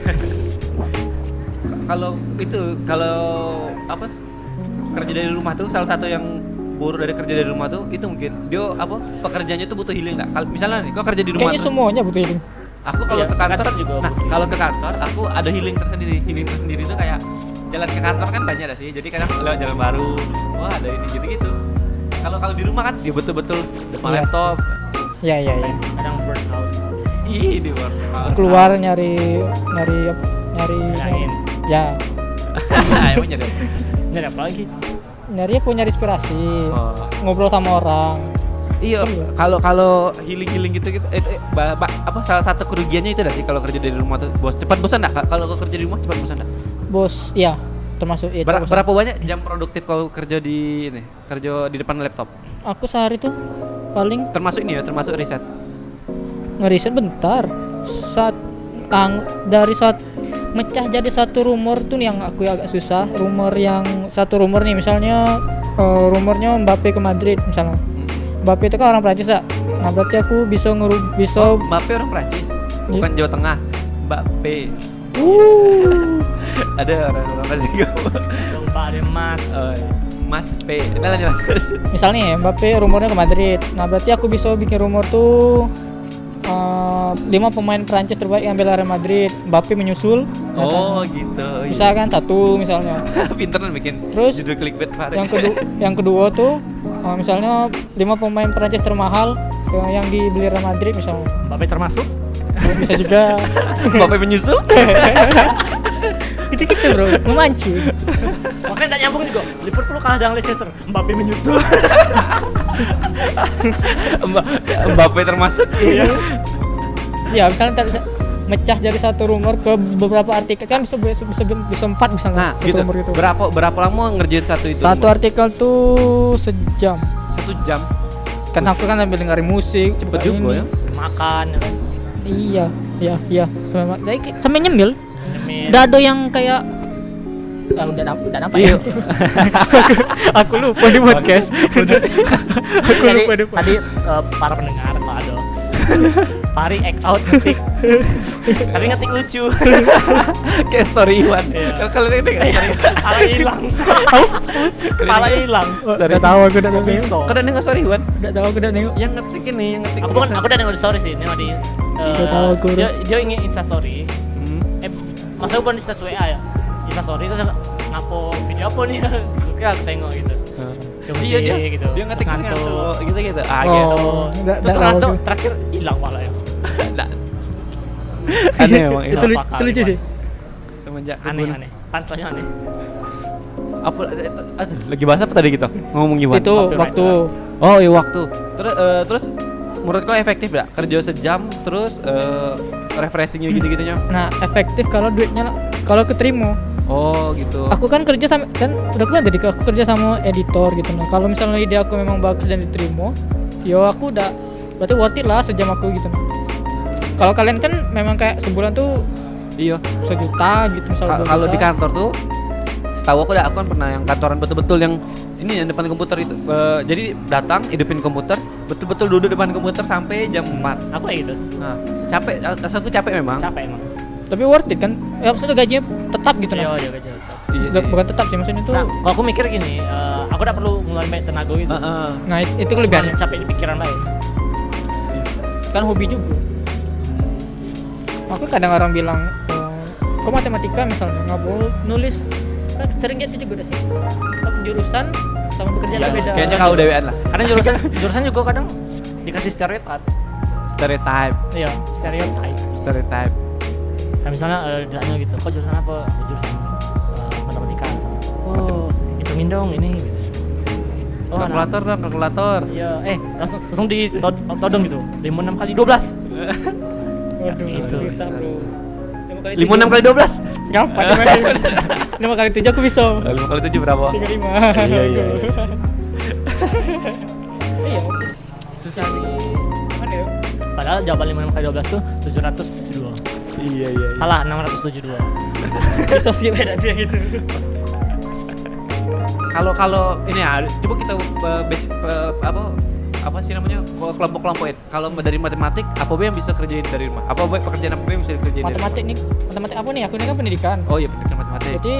A: kalau itu kalau apa kerja dari rumah tuh salah satu yang buruk dari kerja dari rumah tuh itu mungkin dia apa pekerjaannya tuh butuh healing nggak kalau misalnya nih kau kerja di rumah
C: kayaknya
A: terus-
C: semuanya butuh healing
A: aku kalau
B: Iya,
A: ke kantor,
B: kantor juga
A: nah
B: butuh.
A: kalau ke kantor aku ada healing tersendiri healing tersendiri tuh kayak jalan ke kantor kan banyak dah sih jadi kadang lewat jalan baru wah ada ini gitu gitu kalau kalau di rumah kan dia betul-betul depan
C: Iya
A: laptop
C: ya ya ya
B: kadang burn out
A: ih di luar
C: keluar nyari nyari nyari
B: Bilangin.
C: ya
A: emang nyari apa?
B: ini ada apa lagi
C: nyari aku nyari inspirasi
A: oh
C: ngobrol sama orang
A: Iya, kalau kalau healing healing gitu gitu, eh, eh, ba- ba- apa salah satu kerugiannya itu dah sih kalau kerja dari rumah tuh bos cepat bosan dah Kak? kalau kau kerja di rumah cepat bosan dah.
C: bos ya termasuk ya,
A: Ber-
C: termasuk.
A: berapa banyak jam produktif kau kerja di ini kerja di depan laptop?
C: aku sehari tuh paling
A: Termasuk ini ya, termasuk riset.
C: ngeriset bentar saat ang, dari saat mecah jadi satu rumor tuh yang aku agak susah rumor yang satu rumor nih misalnya eh, rumornya Mbappe ke Madrid misalnya Mbappe itu kan orang Prancis ya nah berarti aku bisa ngeru bisa
A: Mbappe orang Prancis,
C: Iya.
A: bukan Jawa Tengah. Mbappe.
C: uh.
A: Ada orang orang Prancis.
B: Domba deh mas.
C: Eh.
A: Oh, iya. Mas P. Nah, lanjut. lanjut.
C: misalnya Mbappe rumornya ke Madrid nah berarti aku bisa bikin rumor tuh eh, lima pemain Prancis terbaik yang bela Real Madrid Mbappe menyusul
A: Oh gitu. iya.
C: misalkan satu misalnya
A: Pinter kan bikin
C: Terus,
A: judul clickbait Pak.
C: yang kedua yang kedua tuh eh, misalnya lima pemain Prancis termahal eh, yang dibeli Real Madrid misalnya Oh,
B: Babe termasuk?
C: bisa juga
A: Bapak menyusul.
C: gitu gitu bro memancing
B: Makanya tidak nyambung juga. Liverpool kalah dengan Leicester. Mbappe menyusul.
A: Mba- Mbappe termasuk. Iya.
C: ya misalnya tadi mecah dari satu rumor ke beberapa artikel kan bisa bisa bisa, bisa empat misalnya
A: Nah,
C: satu
A: gitu.
C: rumor gitu
A: Berapa berapa lama ngerjain satu itu?
C: satu
A: Umur?
C: artikel tuh sejam
A: satu jam.
C: kan aku kan sambil dengerin musik
A: Cepet
C: buka
A: juga
C: ini.
A: ya.
B: Makan, ya kan?
C: iya iya iya sampai, ma- jadi kayak- sampai nyemil
B: Nyemil.
C: dado yang kayak Ah, udah dapat udah dapat ya aku lupa di podcast aku
B: Jadi,
C: lupa di podcast
B: tadi eh, para pendengar Pak Ado. Pari act out ngetik. Tapi ngetik lucu.
A: Kayak story Iwan.
B: Iya.
A: Kalau kalian dengar story.
B: Kepala hilang. Kepala hilang.
C: udah Oh, tahu aku udah nengok
B: Bisa.
A: Kalian dengar story Iwan?
C: udah tahu aku udah nengok
A: Yang ngetik ini, yang ngetik.
B: Aku bukan, aku udah nengok di story sih, nengok di eh,
C: Udah tahu aku,
B: dia, dia ingin insta story
A: Hmm.
B: eh masa bukan di status WA ya insta story terus aku, ngapo video apa nih Oke, aku tengok gitu Yang
A: Iya dia,
B: gede gitu.
A: dia ngetik
B: Ngantuk.
A: ngantuk gitu gitu. Ah
C: Oh.
A: gitu.
B: Oh,
C: nggak-
B: terus
C: nggak
B: ngantuk,
C: tahu.
B: terakhir hilang malah ya
A: Nah. Aneh memang
C: itu,
A: Iwan
C: lu- itu lucu sih
A: semenjak
B: aneh
A: kebun.
B: aneh panselnya aneh
A: Apa eh, aduh, lagi bahas apa tadi kita? Ngomong Iwan.
C: itu
B: Copyright.
C: waktu
A: Oh, iya waktu. Terus eh, terus menurut kau efektif gak kerja sejam terus eh, refreshingnya gitu-gitunya?
C: nah efektif kalau duitnya kalau keterima
A: Oh, gitu.
C: aku kan kerja sama kan udah pernah tadi aku kerja sama editor gitu nah kalau misalnya ide aku memang bagus dan diterima yo aku udah berarti worth it lah sejam aku gitu nah. kalau kalian kan memang kayak sebulan tuh
A: Iya.
C: sejuta gitu
A: Ka-
C: misalnya dua
A: kalau
C: juta.
A: di kan- kantor tuh setahu aku dah aku kan pernah yang kantoran betul-betul yang ini yang depan komputer itu Eh, jadi datang hidupin komputer betul-betul duduk depan komputer sampai jam 4
B: aku kayak gitu
A: nah capek eh, rasa aku capek memang
B: capek emang
C: tapi worth it kan ya maksudnya gajinya tetap gitu
B: iya
C: nah
B: iya kecil
A: Iya
C: Bukan-
A: sih.
C: bukan tetap sih maksudnya tuh
B: nah kalau aku mikir gini eh, aku udah perlu ngeluarin banyak tenaga gitu
A: Heeh.
C: nah it- itu
B: Cuman
C: kelebihan
B: capek di pikiran baik
C: kan hobi juga aku kadang orang bilang "Eh, kok matematika misalnya nggak boleh nulis kan sering gitu juga udah sih Kan jurusan sama pekerjaan
B: Iya,
C: beda
A: Ya, kayaknya kau dewean lah
B: karena jurusan kan jurusan juga kadang dikasih stereotip
A: stereotype
B: iya stereotip
A: stereotype
B: kayak misalnya eh, ditanya gitu kok jurusan apa "Aku jurusan eh, matematika misalnya. oh hitungin dong ini gitu. oh anak
A: kalkulator dong kalkulator
B: Iya, eh langsung langsung di tod- todong gitu. 5 6 kali 12.
C: waduh
B: Itu.
C: susah bro lima kali
A: lima enam kali dua belas
C: gampang lima kali lima kali tujuh aku bisa
A: lima kali tujuh berapa
C: tiga lima
A: Iya, iya,
C: iya susah nih mana ya
B: Padahal jawaban 5 6 kali 12 tuh 772.
A: iya iya
B: Salah 672.
C: bisa sih beda dia gitu
A: kalau kalau ini ya coba kita eh, basic eh, apa apa sih namanya kelompok kelompokin kalau dari matematik apa B yang bisa kerjain dari rumah apa B pekerjaan apa B yang bisa dikerjain dari rumah?
C: matematik nih matematik apa nih aku ini kan pendidikan
A: oh iya pendidikan matematik
C: jadi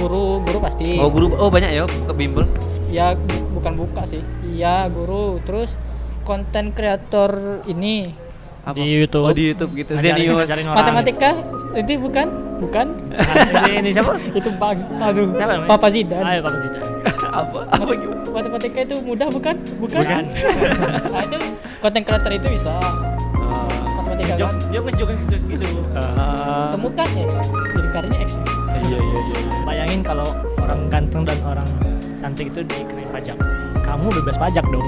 C: guru guru pasti
A: oh guru oh banyak ya ke bimbel
C: ya bu- bukan buka sih iya guru terus konten kreator ini
A: apa?
B: Di YouTube.
A: oh di YouTube gitu
B: Ngajarin-
A: Zenius
B: ngajarin orang.
C: matematika itu bukan bukan
B: Nah, ini, ini siapa?
C: itu bang aduh
B: Siapa namanya?
C: Papa Zidan
B: Ayo Papa Zidan.
A: apa apa gimana
C: matematika itu mudah bukan bukan, nah, itu konten kreator itu bisa
A: Oh.
C: matematika kan
B: Jokes, dia ngejokes ngejokes gitu.
A: Eh,
C: temukan x jadi karirnya x
A: iya iya iya iya.
B: Bayangin kalau orang ganteng dan orang cantik itu dikenain pajak. Kamu bebas pajak dong.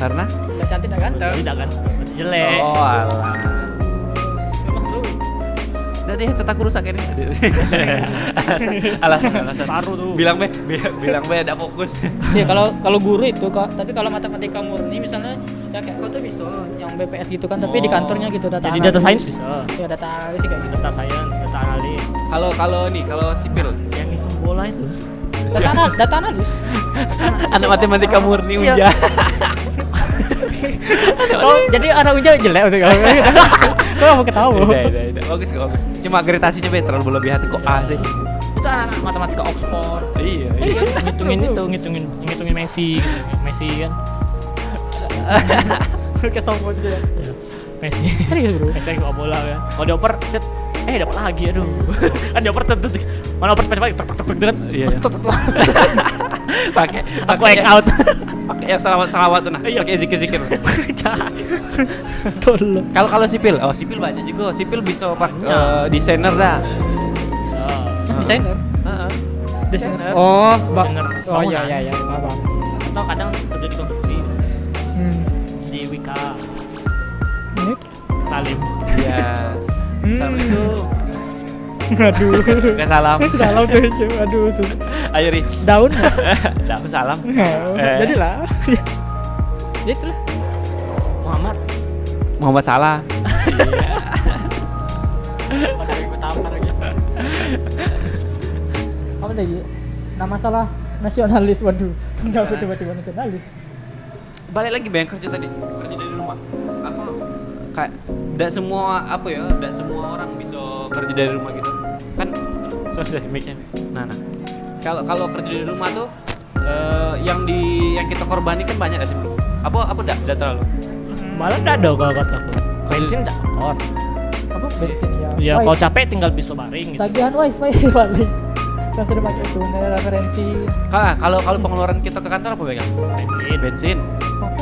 A: Karena?
D: Gak cantik gak ganteng.
B: tidak kan berarti jelek
A: Oh alah.
D: Emang lu.
A: Udah deh cetak rusak ini. alasan, alasan.
B: Paru tuh.
A: Bilang be, bi- bilang be ada fokus.
D: Iya kalau kalau guru itu kok, tapi kalau matematika murni misalnya
C: ya
D: yang kayak kau tuh bisa yang BPS gitu kan, tapi di kantornya gitu data.
B: Oh. jadi data science
D: analis.
B: bisa
D: Iya data analis sih kayak gitu.
B: data science data analis
A: Kalau kalau nih kalau sipil.
B: yang itu bola itu
D: Data, anal data analis.
A: Anak matematika murni uja.
D: oh, jadi anak ujian jelek untuk kamu.
B: gitu.
D: Kau mau ketawa.
A: Udah, udah, udah. Bagus kok, bagus. Cuma gradasinya be terlalu berlebihan kok A sih.
B: itu anak matematika Oxford
A: Iya. iya.
B: ngitungin itu ngitungin ngitungin Messi gitu. Messi kan
D: Kayak tahu aja.
B: Ya, Messi
D: Serius bro.
C: Ah.
B: Messi yang bawa bola kan kalau dioper cet eh dapat lagi aduh kan dioper cet cet, cet. mana oper cepat cepat tek tek tek dengan
A: Iya, iya. Pakai
B: aku
A: pakai-
B: hack out
A: Pakai yang selawat selawat tuh nah.
B: Iya.
A: Pakai zikir-zikir.
D: Tolong.
A: Kalau kalau sipil, oh sipil banyak juga. Sipil bisa pak
B: Banyak.
A: eh, desainer dah.
D: Desainer.
A: Heeh.
B: ya?
D: Desainer.
C: Oh,
B: Mbak.
C: Oh iya iya iya. Paham.
B: kan? atau kadang kerja di konstruksi
C: Hmm.
B: di Wika
C: Ini
B: Salim
A: Iya. Assalamualaikum.
C: aduh.
A: Oke, salam.
C: Salam tuh, cuy. aduh. sus-
A: Ayo Ri.
C: Daun.
A: Dah, aku salam. Eh.
C: Jadi lah.
D: Ya
C: Gitu
D: itulah.
B: Muhammad
A: Muhammad Salah.
B: pada gue tampar lagi
D: Apa tadi?
C: Nama salah nasionalis. Waduh. Kenapa tiba-tiba nasionalis?
A: Balik lagi bayang kerja tadi. Kerja dari rumah. Apa? Kayak tidak semua apa ya? Tidak semua orang bisa kerja dari rumah gitu. Kan sorry mic-nya. Nah, nah. Kalau kalau kerja dari rumah tuh eh, yang di yang kita korbanin kan banyak gak sih bro? Apa apa tidak tidak terlalu?
B: malah dado kalau kata aku bensin dah tekor
C: Apa bensin ya?
B: ya
C: Wifi.
B: kalau capek tinggal besok baring gitu
C: Tagihan wifi paling. Kan sudah pakai itu nggak ada referensi.
A: Kalau kalau kalau pengeluaran kita ke kantor apa bayang?
B: bensin
A: Bensin.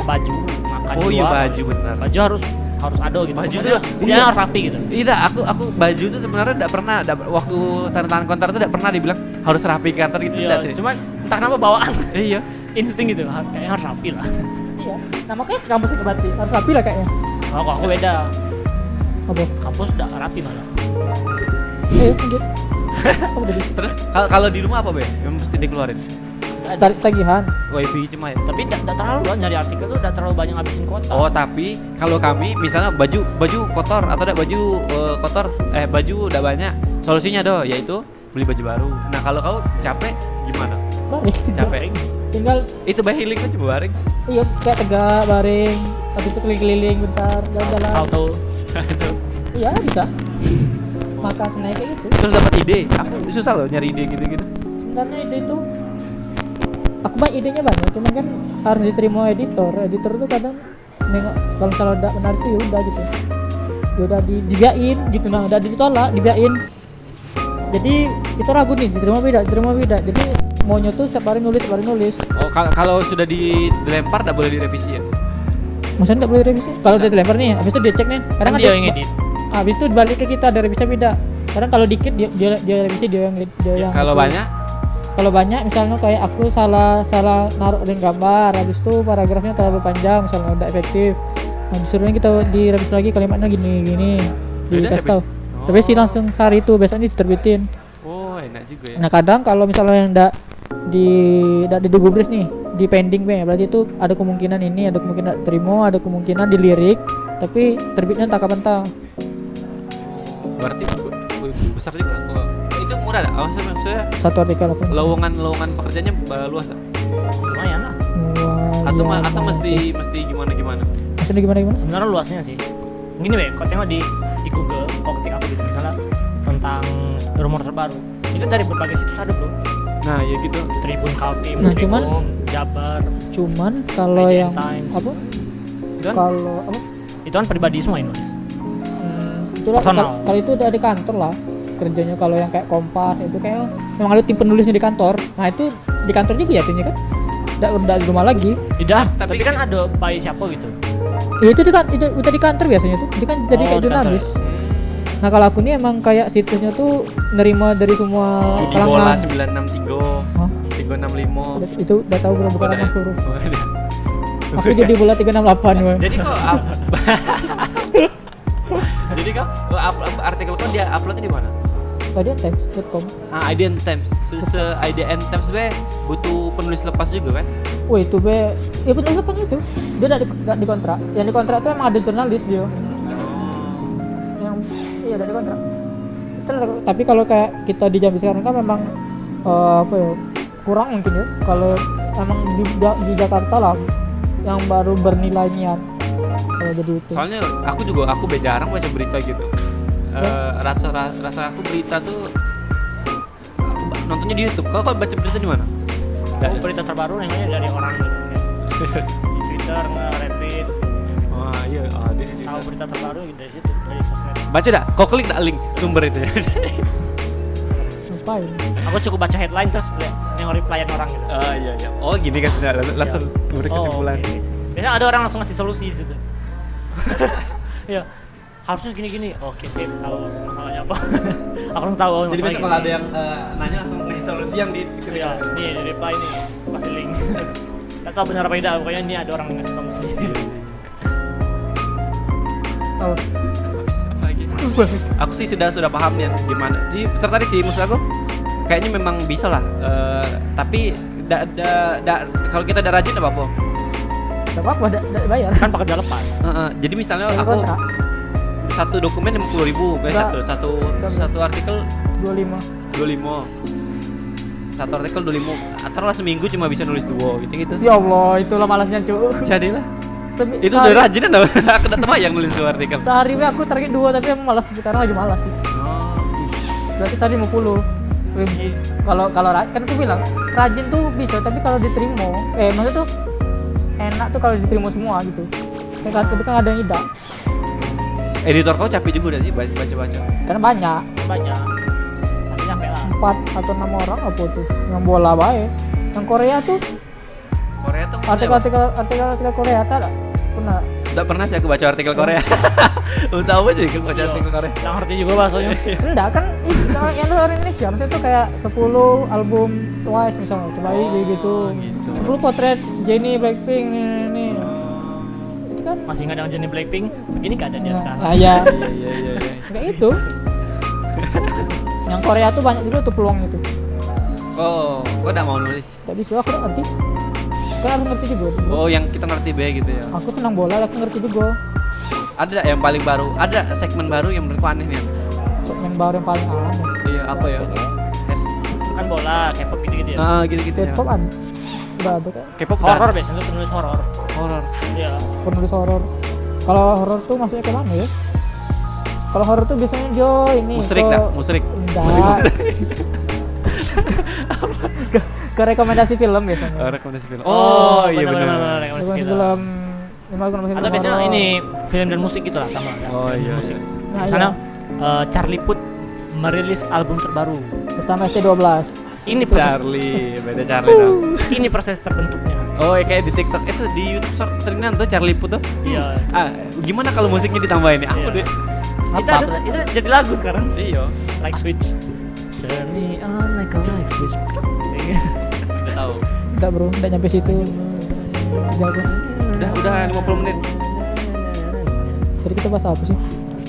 B: baju makan
A: Oh iya
B: dua.
A: baju benar.
B: baju harus harus ada gitu
A: Baju
B: Pokoknya
A: tuh-
B: siang harus rapi gitu
A: Tidak, aku aku baju tuh sebenarnya tidak pernah tidak waktu tanda tangan kontrak tuh tidak pernah dibilang harus rapi kantor gitu
B: iya
A: tidak. Tri.
B: cuman entah kenapa bawaan
A: iya.
B: insting gitu har- kayaknya harus rapi lah
C: Iya. Nama kayak ke kampus ke Batik. Harus rapi lah kayaknya.
B: kalau kalau aku beda
C: Apa?
B: kampus udah rapi malah
C: Eh, pinggir. Apa tadi?
A: Terus kalau kalau di rumah apa be? Yang mesti dikeluarin.
B: Nggak ada.
C: Tarik tagihan.
A: Wifi cuma ya.
B: tapi tidak terlalu lah nyari artikel tuh udah terlalu banyak habisin kuota
A: Oh tapi kalau kami misalnya baju baju kotor atau tidak baju eh, kotor eh baju udah banyak solusinya doh yaitu beli baju baru. Nah kalau kau capek gimana?
C: Balik. tidur.
A: Capek.
C: Tinggal
A: Itu by healing kan coba baring.
C: iya kayak tegak baring. Habis itu keliling-keliling bentar jalan-jalan.
B: salto
C: Iya bisa. Makan snack kayak gitu.
A: Terus dapat ide. Aku susah loh nyari ide gitu-gitu.
C: sebenarnya ide itu aku banyak idenya banyak cuman kan harus diterima editor editor tuh kadang nengok kalau kalau udah menarik tuh ya udah gitu ya udah di, dibiain gitu nah udah ditolak dibiain jadi kita ragu nih diterima apa tidak diterima apa tidak jadi maunya tuh setiap hari nulis setiap hari nulis
A: Oh kalau kalau sudah dilempar tidak boleh direvisi ya.
C: maksudnya tidak boleh revisi kalau udah dilempar nih habis itu dia cek nih kadang
B: Kan
C: ada-
B: dia yang edit.
C: habis itu balik ke kita ada revisi tidak kadang kalau dikit dia dia, dia revisi dia yang
B: Ya,
C: dia yang
A: Kalau
C: itu.
A: banyak
C: kalau banyak misalnya kayak aku salah salah naruh link gambar habis itu paragrafnya terlalu panjang misalnya udah efektif nah, disuruhnya kita direvisi lagi kalimatnya gini gini
A: Ya udah,
C: dikasih
A: revisi.
C: tahu
A: Oh.
C: tapi sih langsung sehari itu biasanya diterbitin
A: Oh enak juga ya.
C: nah kadang kalau misalnya yang ndak di ndak digubris nih di pending be berarti itu ada kemungkinan ini ada kemungkinan ndak terima ada kemungkinan dilirik tapi terbitnya tak kapan tahu
A: Berarti bu- bu- besar juga. Oh, Itu murah dah. Awalnya maksudnya
C: satu artikel aku
A: lowongan-lowongan pekerjaannya uh, luas dah.
B: lumayan lah
C: Wah,
A: Atau ma-
C: iya,
A: atau
C: iya.
A: mesti mesti gimana gimana.
C: maksudnya gimana gimana
B: sebenarnya luasnya sih gini weh kalau tengok di di Google kalau ketik apa gitu misalnya tentang rumor terbaru itu dari berbagai situs ada bro
A: Nah ya gitu.
B: Tribun Kaltim
C: Nah,
B: Tribun,
C: cuman-
B: Jabar
C: cuman kalau
B: Medium
C: yang
B: Times.
C: apa
A: Kan?
B: Dan?
C: kalau apa
B: itu kan pribadi semua yang nulis
C: Hmm, itulah
B: Personal.
C: kal- kalau itu udah di kantor lah kerjanya kalau yang kayak kompas itu kayak memang ada tim penulisnya di kantor nah itu di kantor juga jatuhnya kan tidak udah di rumah lagi
B: tidak tapi, kan ada by siapa gitu
C: ya, itu di kan itu udah di kantor biasanya tuh itu kan
B: Oh,
C: jadi kayak
B: di kantor
C: jurnalis
A: ya? Hmm.
C: nah kalau aku nih emang kayak situsnya tuh nerima dari semua
A: Judi bola
C: kalangan
A: 963,
C: Hah?
A: 365.
C: itu udah tahu belum bukan
A: Udah
C: anak
A: ya?
C: suruh
A: Udah.
C: aku jadi bola 368 gue
A: Jadi kok Jadi kok up- up- artikel kau dia uploadnya di mana?
C: tadi times.com
A: Ah, IDN Times. Se, -se IDN Times be butuh penulis lepas juga kan?
C: Wah itu be, ya betul apa itu? Dia tidak di, nggak dikontrak. Yang dikontrak itu emang ada jurnalis dia.
A: Oh.
C: Yang iya tidak dikontrak. Ter- Tapi kalau kayak kita di jam sekarang kan memang eh, apa ya kurang mungkin ya. Kalau emang di, Ja- di Jakarta lah yang baru bernilai niat kalau jadi itu.
A: Soalnya aku juga aku be jarang baca berita gitu. Eh, rasa, rasa rasa aku berita tuh aku ba- nontonnya di YouTube. Kau kau baca berita di mana? Oh,
B: Aku berita terbaru namanya dari orang gitu. kayak di Twitter nge-retweet
A: Wah, iya, ah, dia di
B: tahu
A: YouTube.
B: berita terbaru dari situ dari sosmed
A: Baca dah, kau klik dah link sumber itu.
C: Ngapain?
B: aku cukup baca headline terus liat yang replyan orang gitu
A: Ah iya iya. Oh gini kan sudah langsung beri
B: Oh,
A: kesimpulan.
B: oke. Biasanya ada orang langsung ngasih solusi di situ. ya, harusnya gini-gini. Oke, sip. Tahu masalahnya apa? aku langsung tahu oh,
A: Jadi
B: masalahnya
A: besok kalau ada
B: gini.
A: yang eh, nanya langsung ngasih solusi yang di ketika-
B: Iya, nih di reply nih, kasih link. Gak tahu benar apa tidak, pokoknya ini ada orang yang ngasih solusi.
A: Iya,
C: Tahu?
A: Apa lagi? aku sih sudah sudah paham nih gimana. Jadi tertarik sih maksud aku. Kayaknya memang bisa lah. Eh, tapi da, da, da- kalau kita tidak rajin apa-apa.
C: Tidak apa-apa, tidak bayar.
B: kan pakai udah lepas.
A: Eh, eh, jadi misalnya
C: Dari
A: aku
C: kontrak
A: satu dokumen 50.000 ribu,
C: Enggak.
A: satu satu
C: Enggak.
A: satu artikel
C: 25
A: 25 satu artikel 25 atau lah seminggu cuma bisa nulis dua gitu gitu
C: Ya Allah, itulah malasnya cuy.
A: jadilah
C: Semi-
A: itu kan?
C: sehari-
A: dari rajin anda aku datang aja yang nulis dua artikel
C: Sehari ini aku target dua tapi emang malas sekarang lagi malas
A: Oh,
C: sih.
A: iya.
C: Berarti sehari 50 ribu. Kalau kalau ra- kan aku bilang rajin tuh bisa tapi kalau diterima eh maksudnya tuh enak tuh kalau diterima semua gitu. Kan kan- tapi kan ada yang tidak.
A: editor kau capek juga udah sih baca baca
C: Karena banyak
B: Banyak. ya? Pasti nyampe lah.
C: empat atau enam orang apa tuh yang bola baik. Yang Korea tuh
A: Korea tuh maksudnya apa?
C: artikel-artikel artikel-artikel Korea tak ada? pernah
A: Nggak pernah sih aku baca artikel Korea Belum tahu aja aku baca artikel Korea
B: Gak ngerti juga bahasanya.
C: enggak kan is- orang- yang orang Indonesia maksudnya tuh kayak 10 album Twice misalnya coba kayak gitu.
A: gitu.
C: 10 potret Jennie Blackpink nih, nih, nih.
A: Oh.
C: itu kan
B: Masih nggak ada Johnny Blackpink, begini keadaan dia sekarang.
C: nah, ya
A: Iya iya iya
C: kayak itu yang Korea tuh banyak juga tuh peluang itu
A: Oh, kau udah mau nulis
C: tapi sih aku nggak ngerti kan harus ngerti juga
A: Oh yang kita ngerti be gitu ya
C: aku senang bola aku ngerti juga
A: Ada nggak yang paling baru, ada nggak segmen baru yang menurutku aneh nih
C: so, yang baru yang paling aneh
A: Iya apa ya Hers
B: Kan bola, K-pop gitu-gitu ya.
A: Ah gitu-gitu ya
C: K-pop an udah ada kan
A: K-pop
B: Horor biasanya tuh penulis horor.
A: Horror
B: Iya.
C: penulis horor kalau horor tuh maksudnya ke mana ya kalau horor tuh biasanya jo ini
A: Musrik
C: ke-
A: dah, musrik
C: enggak ke, ke rekomendasi film biasanya
A: Oh, rekomendasi film Oh iya benar.
B: benar. Rekomendasi
C: rekomendasi
B: film.
C: film lima rekomendasi
B: gitu. atau
C: film
B: biasanya
C: horor.
B: ini film dan musik gitu lah sama ya,
A: Oh,
B: film dan
A: iya,
B: musik
A: iya.
C: Nah,
B: misalnya eh, Charlie Puth merilis album terbaru
C: Bersama ST12
B: ini proses
A: Charlie, beda Charlie dong
B: ini proses terbentuknya
A: Oh ya, kayak di TikTok itu di YouTube ser- sering nanti Charlie Puth tuh.
B: Iya.
A: Ah, gimana kalau musiknya ditambahin ya? Aku
B: Iya.
A: deh.
B: itu, ada, itu jadi lagu sekarang
A: Iya.
B: like switch turn me on like a light switch Iya.
A: Udah tahu.
C: Udah bro, udah nyampe situ Udah bro
A: Udah udah 50 menit.
C: Tadi kita bahas apa sih?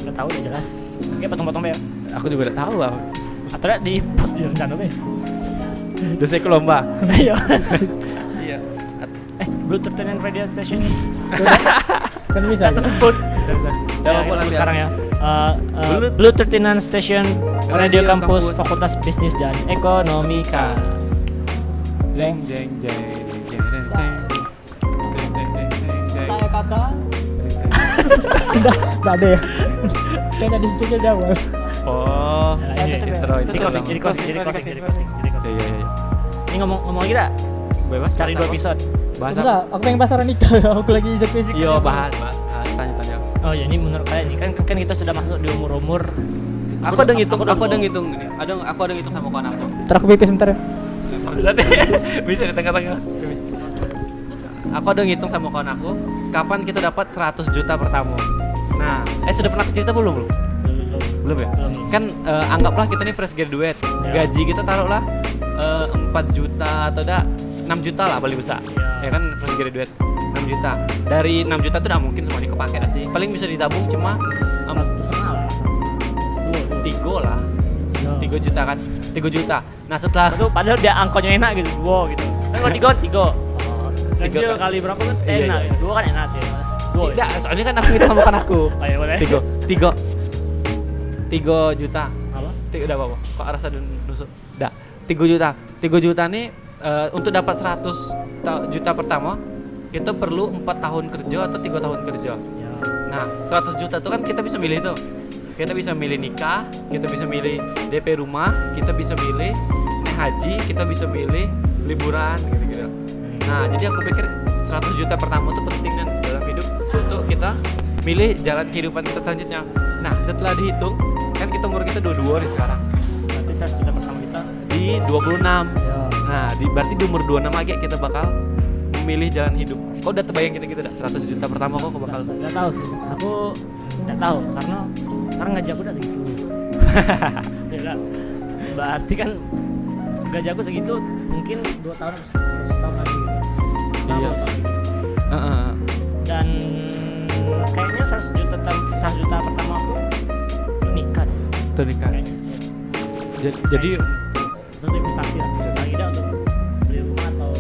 B: nggak tahu udah jelas oke potong-potong ya
A: Aku juga udah tahu lah.
B: atau nggak di post di rencana ya. be
A: Udah saya ke lomba.
B: iya
A: Iya.
B: eh Bluetooth and radio station
C: Kan bisa ya?
B: tersebut
A: Udah apa
B: Ya, kita
A: lagi?
B: sebut sekarang ya. Uh, uh,
A: Blue-
B: Blue 39 Station
A: Radio
B: Radio Kampus
A: Kampus.
B: Fakultas Bisnis dan Nah, Ekonomika.
A: Jeng jeng jeng jeng jeng jeng jeng. Jeng, jeng, jeng, jeng, jeng.
C: kakak Udah, udah ada ya? Kan tadi kita jauh
A: Oh,
B: Ya,
A: ini
B: ini
A: intro
B: Jadi
A: intro.
B: closing, jadi closing, jadi closing, jadi closing, jadi
A: Iya
B: closing.
A: iya iya.
B: Ini ngomong ngomong lagi dah.
A: Bebas.
B: Cari
A: bahas
B: dua
A: apa?
B: episode.
A: Bahas apa?
C: Bisa, aku pengen bahas orang nikah Aku lagi isek fisik
A: Iya, bahas, bahas. Ah, Tanya tanya.
B: Oh ya ini menurut kalian ini kan kan kita sudah masuk di umur umur.
A: Aku ada ngitung, aku ada ngitung ini. Ada aku ada ngitung sama kawan aku.
C: Ntar aku pipis bentar ya
A: bisa deh bisa di tengah-tengah aku udah ngitung sama kawan aku kapan kita dapat 100 juta per tamu nah eh sudah pernah cerita belum belum belum ya
B: Belum.
A: kan eh, anggaplah kita nih fresh graduate
B: Ya.
A: gaji kita taruhlah eh, 4 juta atau enggak 6 juta lah paling besar
B: Ya.
A: ya kan fresh graduate 6 6 juta. Dari 6 juta itu udah mungkin semuanya kepake dah sih. Paling bisa ditabung cuma em,
B: satu setengah lah
A: tiga lah. 3 juta kan. 3 juta. Nah, setelah
D: Itu padahal dia angkonya enak gitu, dua gitu. Kan kalau tiga, tiga.
B: Oh, tiga
A: Tiga-
B: kali berapa kan
A: Iya,
B: enak
A: iya.
B: gitu. dua kan enak ya dua
A: tidak, soalnya kan aku itu kan bukan aku.
B: oh ya boleh
A: 3 3 3 juta.
B: apa
A: Tiga udah apa? Kok rasa dun- nusuk? Dah. 3 juta. 3 juta nih eh, untuk dapat 100 ta- juta pertama kita perlu 4 tahun kerja atau 3 tahun kerja.
B: ya
A: Nah, 100 juta itu kan kita bisa milih tuh. Kita bisa milih nikah, kita bisa milih DP rumah, kita bisa milih naik haji, kita bisa milih liburan gitu-gitu. Nah, jadi aku pikir 100 juta pertama itu penting dan dalam hidup untuk kita milih jalan kehidupan kita selanjutnya. Nah, setelah dihitung kan kita umur kita 22 nih sekarang.
B: berarti seratus juta pertama kita
A: Di 26.
B: ya
A: Nah, di, berarti di umur 26 lagi kita bakal memilih jalan hidup. Kau udah terbayang gitu-gitu dah 100 juta pertama kok kau bakal
B: nggak tahu sih aku nggak tahu karena sekarang gaji aku udah segitu ya lah. berarti kan gaji aku segitu mungkin dua tahun atau setahun lagi gitu. Setahun
A: Iya.
B: atau tahun lagi.
A: Heeh.
B: dan kayaknya 100 juta ter- 100 juta pertama aku nikah deh,
A: Tuh nikah.
B: kayaknya
A: Jadi, jadi
B: itu untuk investasi lah bisa paling tidak untuk beli rumah atau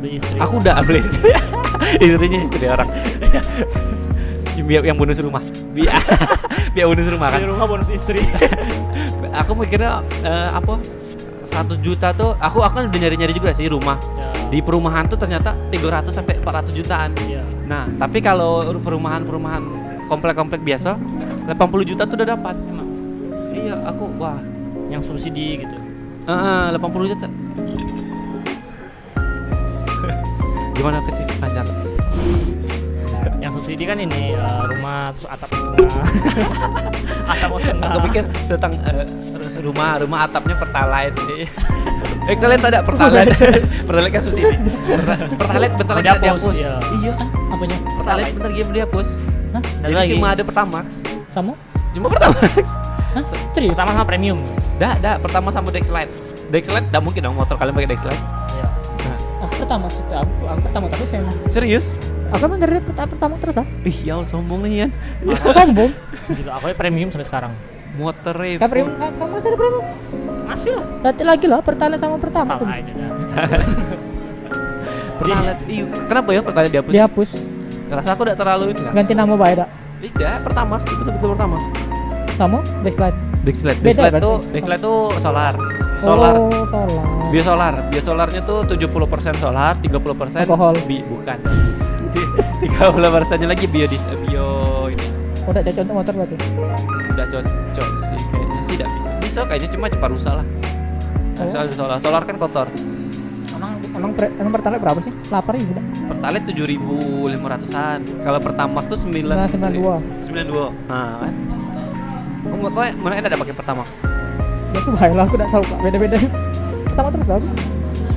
B: beli istri
A: aku udah beli istri. istrinya istri orang. Biar yang bonus rumah. Biar biar bonus rumah kan.
B: beli rumah bonus istri
A: Aku mikirnya eh, apa? 100 juta tuh aku aku kan udah nyari-nyari juga sih rumah.
B: ya,
A: Di perumahan tuh ternyata 300 sampai 400 jutaan.
B: ya.
A: Nah, tapi kalau perumahan-perumahan komplek-komplek biasa 80 juta tuh udah dapat.
B: emang
A: Iya, aku wah.
B: yang subsidi gitu
A: Eh, eh, 80 juta. Gimana kecil panjang?
B: yang subsidi kan ini eh, rumah terus atap setengah atap kos setengah
A: Aku pikir
B: Ah.
A: tentang eh, terus rumah rumah atapnya pertalite sih. eh kalian tahu tidak pertalite? pertalite kan subsidi. Perta- Pertalite bentar lagi
B: Udah
A: nggak dihapus.
B: hapus, iya.
A: Iya.
C: Apanya?
A: Pertalite bentar lagi dihapus.
C: Hah?
B: Ada
A: iya, Jadi
B: lagi
A: cuma ada pertama.
C: Sama?
A: Cuma pertama.
C: Hah? Serius?
B: pertama sama premium
A: Dah, dah pertama sama Dexlite. Dexlite enggak mungkin dong motor kalian pakai Dexlite.
B: ya.
A: Nah,
C: Aku Ah, pertama sih, aku, aku pertama tapi saya emang.
A: serius?
C: Aku emang dari pertama, pertama terus ah.
A: Ih, ya Allah sombong nih Ian.
C: Aku sombong.
B: gitu aku premium sampai sekarang
A: Motor rip.
C: Tapi kamu masih ada berapa?
B: masih lah
C: Berarti lagi lah pertalite sama pertama tuh.
B: pertama aja dah
A: Pertalite. Iya, kenapa ya pertalite dihapus?
C: Dihapus.
A: Rasa aku udah terlalu ini.
C: Ganti nama Pak Eda.
A: Tidak, pertama, itu betul pertama.
C: Sama? Dexlight.
A: Dexlite.
C: Beda
A: Dexlite
C: berarti?
A: tuh, Dexlite tuh solar. Solar.
C: Oh, solar.
A: Biosolar. Biosolarnya tuh 70% solar, 30%
C: Alkohol.
A: bi- bukan. 30% nya lagi bio eh, bio ini.
C: Udah cocok untuk motor berarti.
A: Udah cocok sih kayaknya sih tidak bisa. Bisa kayaknya cuma cepat rusak lah. Nah,
C: Oh.
A: Soalnya solar, solar kan kotor.
C: Emang emang, pre, emang pertalite berapa sih? Lapar ya tidak?
A: Pertalite 7.500-an. Kalau Pertamax tuh 9
C: 992.
A: 92. Nah, kan. Kamu kok mana ada pakai Pertamax?
C: Ya tuh bahaya lah aku enggak tahu Pak. Beda-beda. Pertama terus lah aku.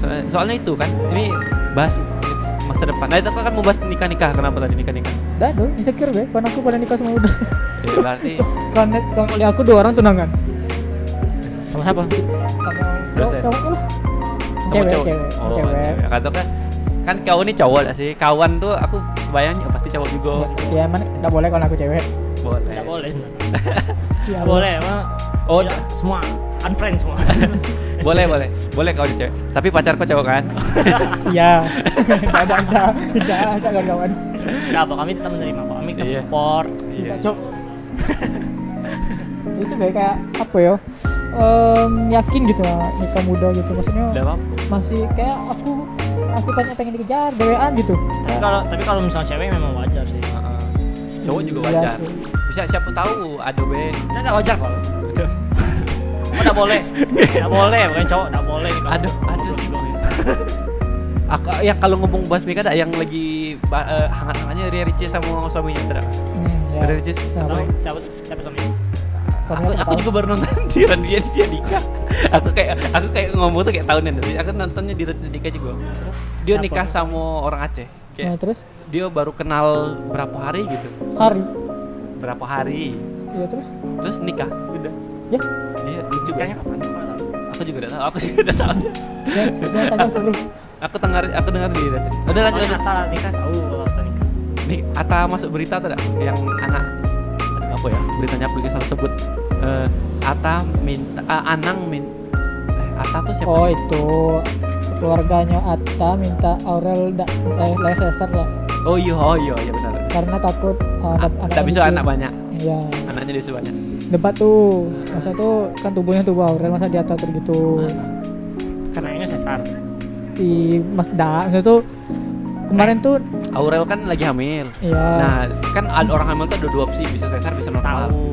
A: So- soalnya itu kan ini bahas masa depan nah itu aku kan mau bahas nikah nikah kenapa tadi nikah nikah
C: Dah dong, insecure gue. Karena aku pada nikah sama udah.
A: ya, berarti
C: Karena kamu lihat aku dua orang tunangan.
B: sama siapa
C: Sama
A: Dosen.
C: kamu kamu lah.
A: eh? sama
C: Cewek,
A: cowok
C: cewek,
A: oh
C: cewek.
A: cewek kata kan kan kau ini cowok gak sih kawan tuh aku bayangin oh, pasti cowok juga
C: Ya, ya emang enggak boleh kalau aku cewek.
A: boleh
B: tidak boleh
C: Siapa?
B: tidak boleh emang
A: Oh,
B: Tidak, semua unfriend semua
A: boleh boleh boleh kau ini cewek tapi pacar kau cowok kan
C: Iya. Enggak ada enggak. Enggak ada kawan-kawan.
B: Nggak apa kami tetap menerima kok kami tetap
A: Iya.
B: support
A: iya
C: Cok. itu kayak kayak apa ya? Em, yakin gitu lah nikah muda gitu maksudnya
A: Udah apa
C: masih kayak aku masih banyak pengen dikejar gawean gitu
A: Nah.
B: tapi kalau tapi kalau misalnya cewek memang wajar sih
A: Heeh. cowok juga
C: Iya
A: wajar
C: sih.
A: bisa siapa tahu aduh be
B: kita nggak wajar kok Kamu nggak boleh nggak boleh bukan cowok nggak boleh nih kalau
A: Aduh,
B: ngobrol
A: aduh.
B: juga.
A: aku ya kalau ngomong bahas nikah ada yang lagi ba- eh, hangat-hangatnya Ria Ricis sama suaminya tidak
C: hmm, ya.
A: Ria Ricis
C: Kenapa?
B: Tahu siapa siapa suami
C: Kamu
A: aku,
C: nggak
A: aku
C: tahu.
A: juga baru nonton di Ran dia dia nikah aku kayak aku kayak ngomong tuh kayak tahunan tapi aku nontonnya di Ran dia nikah juga
B: terus
A: dia
B: siapa?
A: nikah sama orang Aceh
C: Nah,
A: kayak
C: terus
A: dia baru kenal berapa hari gitu
C: hari
A: berapa hari
C: iya terus
A: terus nikah udah
C: ya
A: dia lucu
B: nikahnya
A: banget
B: kapan Kok nggak tahu?
A: aku juga udah tahu aku juga udah tahu
C: ya, ya tanya dulu
A: aku dengar aku dengar dia tadi udah lanjut
B: Soalnya
A: lanjut
B: Natal nikah tahu kalau
A: ini Ata masuk berita tuh dak? yang anak aduh, apa ya beritanya aku salah sebut Eh, Ata minta ah, Anang min eh, Ata tuh siapa?
C: Oh itu keluarganya Atta minta Aurel da, eh, live laser lah
A: Oh iya oh iya iya benar.
C: karena takut uh,
A: Ah,
C: ada anak
A: Tak bisa anak banyak,
C: Iya.
A: anaknya dia banyak.
C: Debat tuh. Masa tuh kan tubuhnya tubuh Aurel masa dia atur gitu.
B: karena ini
A: Ah.
B: sesar
C: Di Mas Da, masa tuh kemarin tuh
A: Aurel kan lagi hamil.
C: Iya.
A: Eh. Nah, kan ad- orang hamil tuh ada dua opsi, bisa sesar, bisa normal.
B: tahu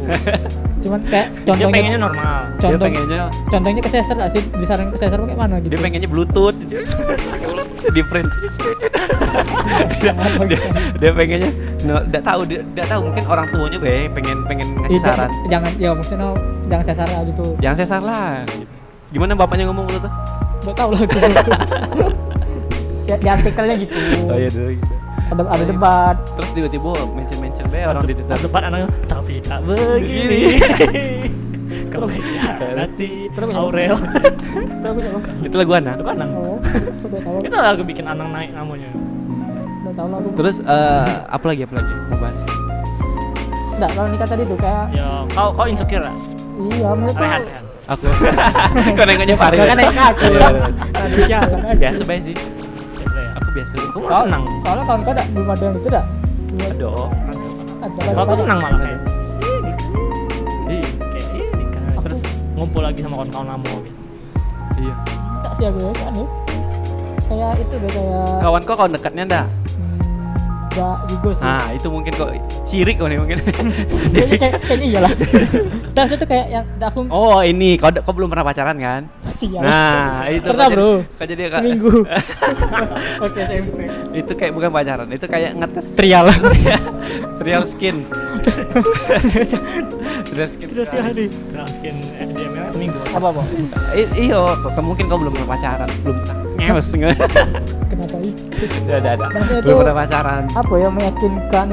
C: cuman
B: dia
C: kayak contohnya
B: pengennya normal
A: Dia
C: contoh
A: pengennya
C: contohnya keseser lah sih disarankan keseser pakai mana gitu
A: dia pengennya bluetooth. di print. dia, dia pengennya no, nggak tahu dia, nggak tahu mungkin orang tuanya be pengen pengen ngasih
C: Iya,
A: saran.
C: jangan ya maksudnya no, jangan sesar lah gitu
A: Jangan sesar lah. Gimana bapaknya ngomong gitu waktu itu?
C: nggak tahu lah gitu ya, di artikelnya gitu
A: dulu gitu.
C: ada ada debat
A: Terus tiba-tiba mention-mention be orang di Twitter.
B: Pas depan anaknya tapi tak begini kalau nanti
C: Terus-
B: Aurel
C: itu aku nggak tahu.
A: Itu lagu anak.
B: itu kan Anang
C: Oh, aku nggak tahu
B: itu lagu bikin Anang naik namanya
C: nggak tahu lah aku
A: Terus eh, apa lagi apa lagi mau bahas?
C: nggak kalau nikah tadi tuh kayak
B: ya kau kau insecure lah
C: iya maksudnya
B: rehat
C: tuh
B: rehat
A: Aku. Kau nengoknya Farid.
C: Kau kan nengok aku.
A: Iya.
C: Manusia, kan aja.
A: Biasa baik sih.
B: ya sudah ya
A: Aku biasa.
B: aku malah
C: Soal-
B: senang
C: soalnya kawan kau nggak- belum ada yang itu dah
A: Aduh.
B: Kalau aku senang malah kayak "Ih,
A: Iya.
B: nikah, kayak "Ih, nikah." terus ngumpul lagi sama kawan-kawan lama gitu.
A: Iya.
C: tak sih aku ya, kan ya kayak itu deh kayak
A: Kawan kau kawan dekatnya dah.
C: hmm, nggak juga sih
A: Nah, itu mungkin kok sirik kau nih mungkin.
C: Kayaknya, kayak- kayaknya iyalah Nah itu kayak yang aku
A: oh, ini kau kau belum pernah pacaran kan?
C: sial
A: Nah, itu
C: Iya. Pernah,
A: kau jadi-
C: bro.
A: Kau jadi kau-
C: Seminggu Oke SMP
A: Itu kayak bukan pacaran, itu kayak ngetes
C: Trial
A: trial skin. trial skin.
C: Terus ya,
A: kali.
C: hari
B: terus skin eh, dia bilang seminggu
C: Apa apa?
A: I- Iyo, kau- mungkin kau belum pernah pacaran, belum pernah. Ngeus enggak.
C: Kenapa itu?
A: Udah, udah, udah.
C: Maksudnya
A: Belum
C: tuh-
A: pernah pacaran.
C: Apa ya meyakinkan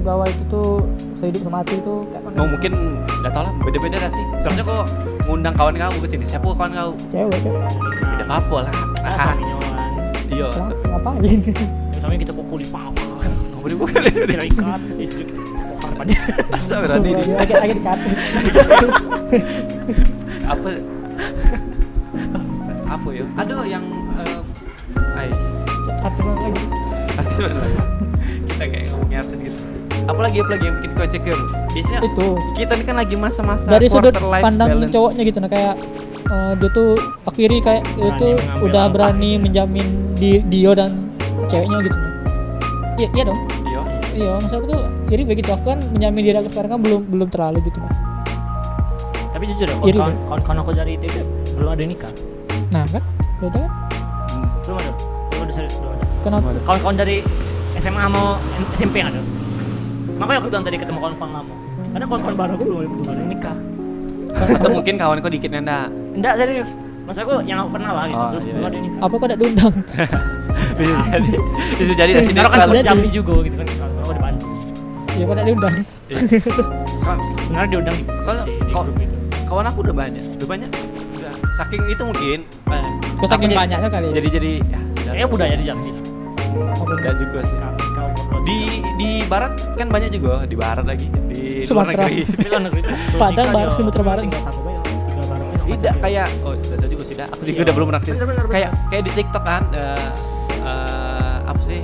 C: bahwa itu tuh sehidup semati itu kayak mana?
A: Mau Oh, mungkin enggak tahu lah, beda-beda dah sih. Seharusnya kok ngundang kawan kamu ke sini. Siapa kawan kau?
C: cewek cewek
B: ya,
A: Tidak apa-apa lah.
B: Ah,
A: Ah,
B: suaminya orang
A: Iyo.
C: Kenapa? ngapain
B: yang suaminya kita pukuli pau
A: Kau boleh bukan itu.
B: kita ikat istri kita pukul depannya
A: Asal berani
C: Sebenarnya agak agak dikati
A: apa apa ya aduh yang eh, ai
C: Atur lagi
A: artis mana kita kayak ngomongin artis gitu apalagi apalagi yang bikin kau insecure biasanya
C: Itu.
A: kita ini kan lagi masa-masa
C: dari sudut
A: quarter life
C: pandang
A: balance.
C: cowoknya gitu nah kayak eh, dia tuh akhiri kayak dia
B: Berani mengambil
C: tuh udah
B: langkah
C: berani
B: gitu.
C: menjamin di Dio dan ceweknya gitu nah. iya iya dong
A: iya
C: iya maksud aku tuh iri begitu aku kan menjamin diri aku sekarang kan belum belum terlalu gitu nah
B: tapi jujur ya
C: Iri
B: kawan-kawan kawan-kawan aku dari ITB belum ada yang nikah
C: nah kan beda kan
B: belum ada belum ada serius belum ada
C: kenapa
A: Waduh.
B: kawan-kawan dari SMA mau SMP yang ada makanya aku bilang tadi ketemu kawan-kawan lama karena kawan-kawan baru aku belum belum ada yang nikah
A: atau mungkin kawan kau dikit nanda
B: enggak serius maksud aku yang aku kenal lah gitu
A: Oh,
B: belum,
A: iya,
B: belum
A: iya.
B: ada yang nikah
C: apa kok tidak diundang Iya.
A: bisa jadi bisa jadi dari sini
B: karena kan aku di
C: Jadi-
B: Jambi juga gitu kan kawan-kawan aku di Bandung
C: iya kok tidak diundang
B: sebenarnya diundang di,
A: Soalnya
B: si-
A: kok-
B: di
A: Iya.
B: grup itu
A: kawan aku udah banyak udah banyak udah saking itu mungkin eh,
C: kok
A: aku
C: saking
A: jadi-
C: banyaknya kali ya?
A: jadi Nah, jadi ya sudah.
B: kayaknya budaya di Jambi lah.
C: Apa
A: Dan juga sih
B: Kau- kau-
A: di di barat kan banyak juga di barat lagi di luar
C: Sumatera.
A: negeri
B: Di luar negeri itu belum
C: Padang,
B: nikah,
C: Barat,
B: ya.
C: Sumatera Barat.
B: tinggal satu aja tinggal bareng aja sama
A: tidak
B: cewek.
A: kayak oh tidak tahu juga sih dah aku juga
B: Iya.
A: udah belum pernah
B: Bener, bener, bener.
A: kayak kayak di TikTok kan eh eh, apa sih